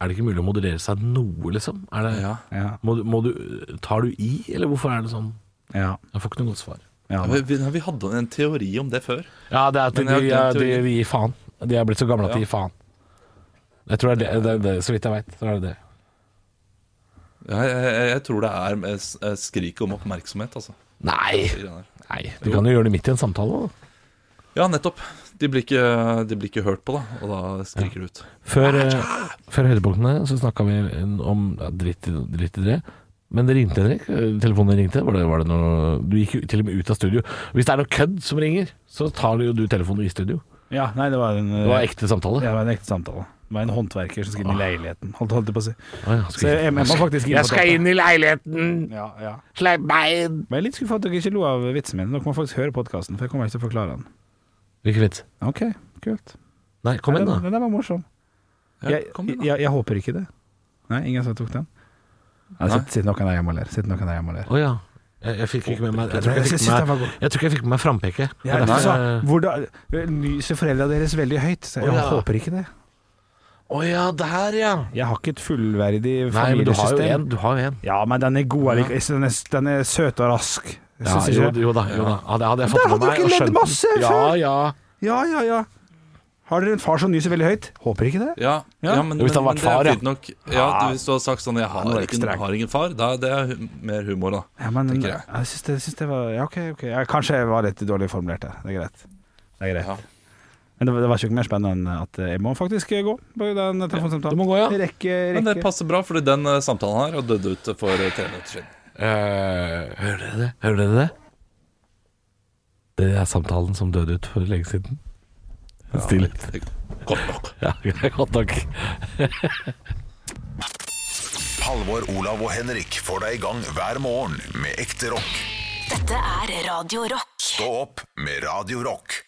Er det ikke mulig å moderere seg noe, liksom? Er det, Ja. Ja, må, du- må du Tar du i, eller hvorfor er det sånn? ja, Jeg får ikke noe godt svar. ja. Vi, vi, vi hadde en teori om det før. Ja, det er at de, Men jeg har de, glemt de, teorien. de gir faen. De er blitt så gamle at de Ja. gir faen. Jeg tror det er det, det, det så vidt jeg veit. Så er det det. Ja, jeg, jeg, jeg tror det er med s- eh, skriket om oppmerksomhet, altså. Nei! de greiene der. nei du kan jo gjøre det midt i en samtale. Da. Ja, nettopp. De blir ikke, de blir ikke hørt på, da, og da skriker de ut. Før, eh, før høydepunktene så snakka vi om ja, dritt, i- dritt i det. Men det ringte, Henrik. Eh, Telefonen ringte. Var det, var det noe, du gikk jo til og med ut av studio. Hvis det er noe kødd som ringer, så tar jo du telefonen i studio. ja nei, det var en Det var ekte samtale. Ja, det var en ekte Ah. samtale. Det var en håndverker som skulle inn i leiligheten. Holdt, holdt det på å si. Å, ja, Så jeg, jeg må faktisk inn på dette. i leiligheten! Ja, ja. Slipp meg inn! Men jeg er litt skuffa at dere ikke lo av vitsen min. Dere må faktisk høre podkasten, for jeg kommer ikke til å forklare den. Hvilken vits? OK, kult. Nei, kom igjen, den, da. den der var morsom. Ja, Jeg, kom igjen, da. jeg, jeg håper ikke det. Nei, ingen som tok den? Nei, Altså- sitt, sitt noen der hjemme og ler. Sitt noen der hjemme og ler. Å ja. Jeg, jeg fikk ikke med meg Jeg Jeg tror ikke jeg synes fikk den med var meg, god. jeg tror ikke jeg fikk med meg frampeket. Det Ja, er du derfor sa jeg- hvordan, Nyser foreldra deres veldig høyt? Så jeg eh, Å, ja. håper ikke det. Å ja, der ja. Jeg har ikke et fullverdig Nei, men du har jo familiesystem. en. Du har jo en. Ja, men den er god allikevel. Den, er- den er søt og rask. Jeg Ja, synes jo, ikke det. jo da, jo da. Ja, det hadde jeg fått Der med hadde meg. dere og ledd skjønt. masse ja, før. ja. ja, ja, ja. Har dere en far som nyser veldig høyt? Håper ikke det. Ja, ja. men, Hvis det hadde men- vært men det er far, ja. Ah. fint nok. Ja, du- Hvis du hadde sagt sånn 'Jeg har, Nå er det ikke, streng. har ingen far', da, det er hu- mer humor, da. Ja, men tenker jeg jeg. syns det, jeg syns det var Ja, OK, ok. Ja, kanskje jeg var litt dårlig formulert der. Det er greit. Det er greit. Ja. Men det, var- det var ikke mer spennende enn at jeg må faktisk gå på den telefonsamtalen. Du må gå, ja. Jeg rekker, Men det rekker. passer bra, fordi den eh, samtalen her har dødd ut for eh, tre minutter siden. Eh, hører dere det? Hører dere det? Det er samtalen som døde ut for lenge siden. Stillhet. Godt nok. Ja, godt nok. Halvor, Olav og Henrik får deg i gang hver morgen med ekte rock. Dette er Radio Rock. Stå opp med Radio Rock.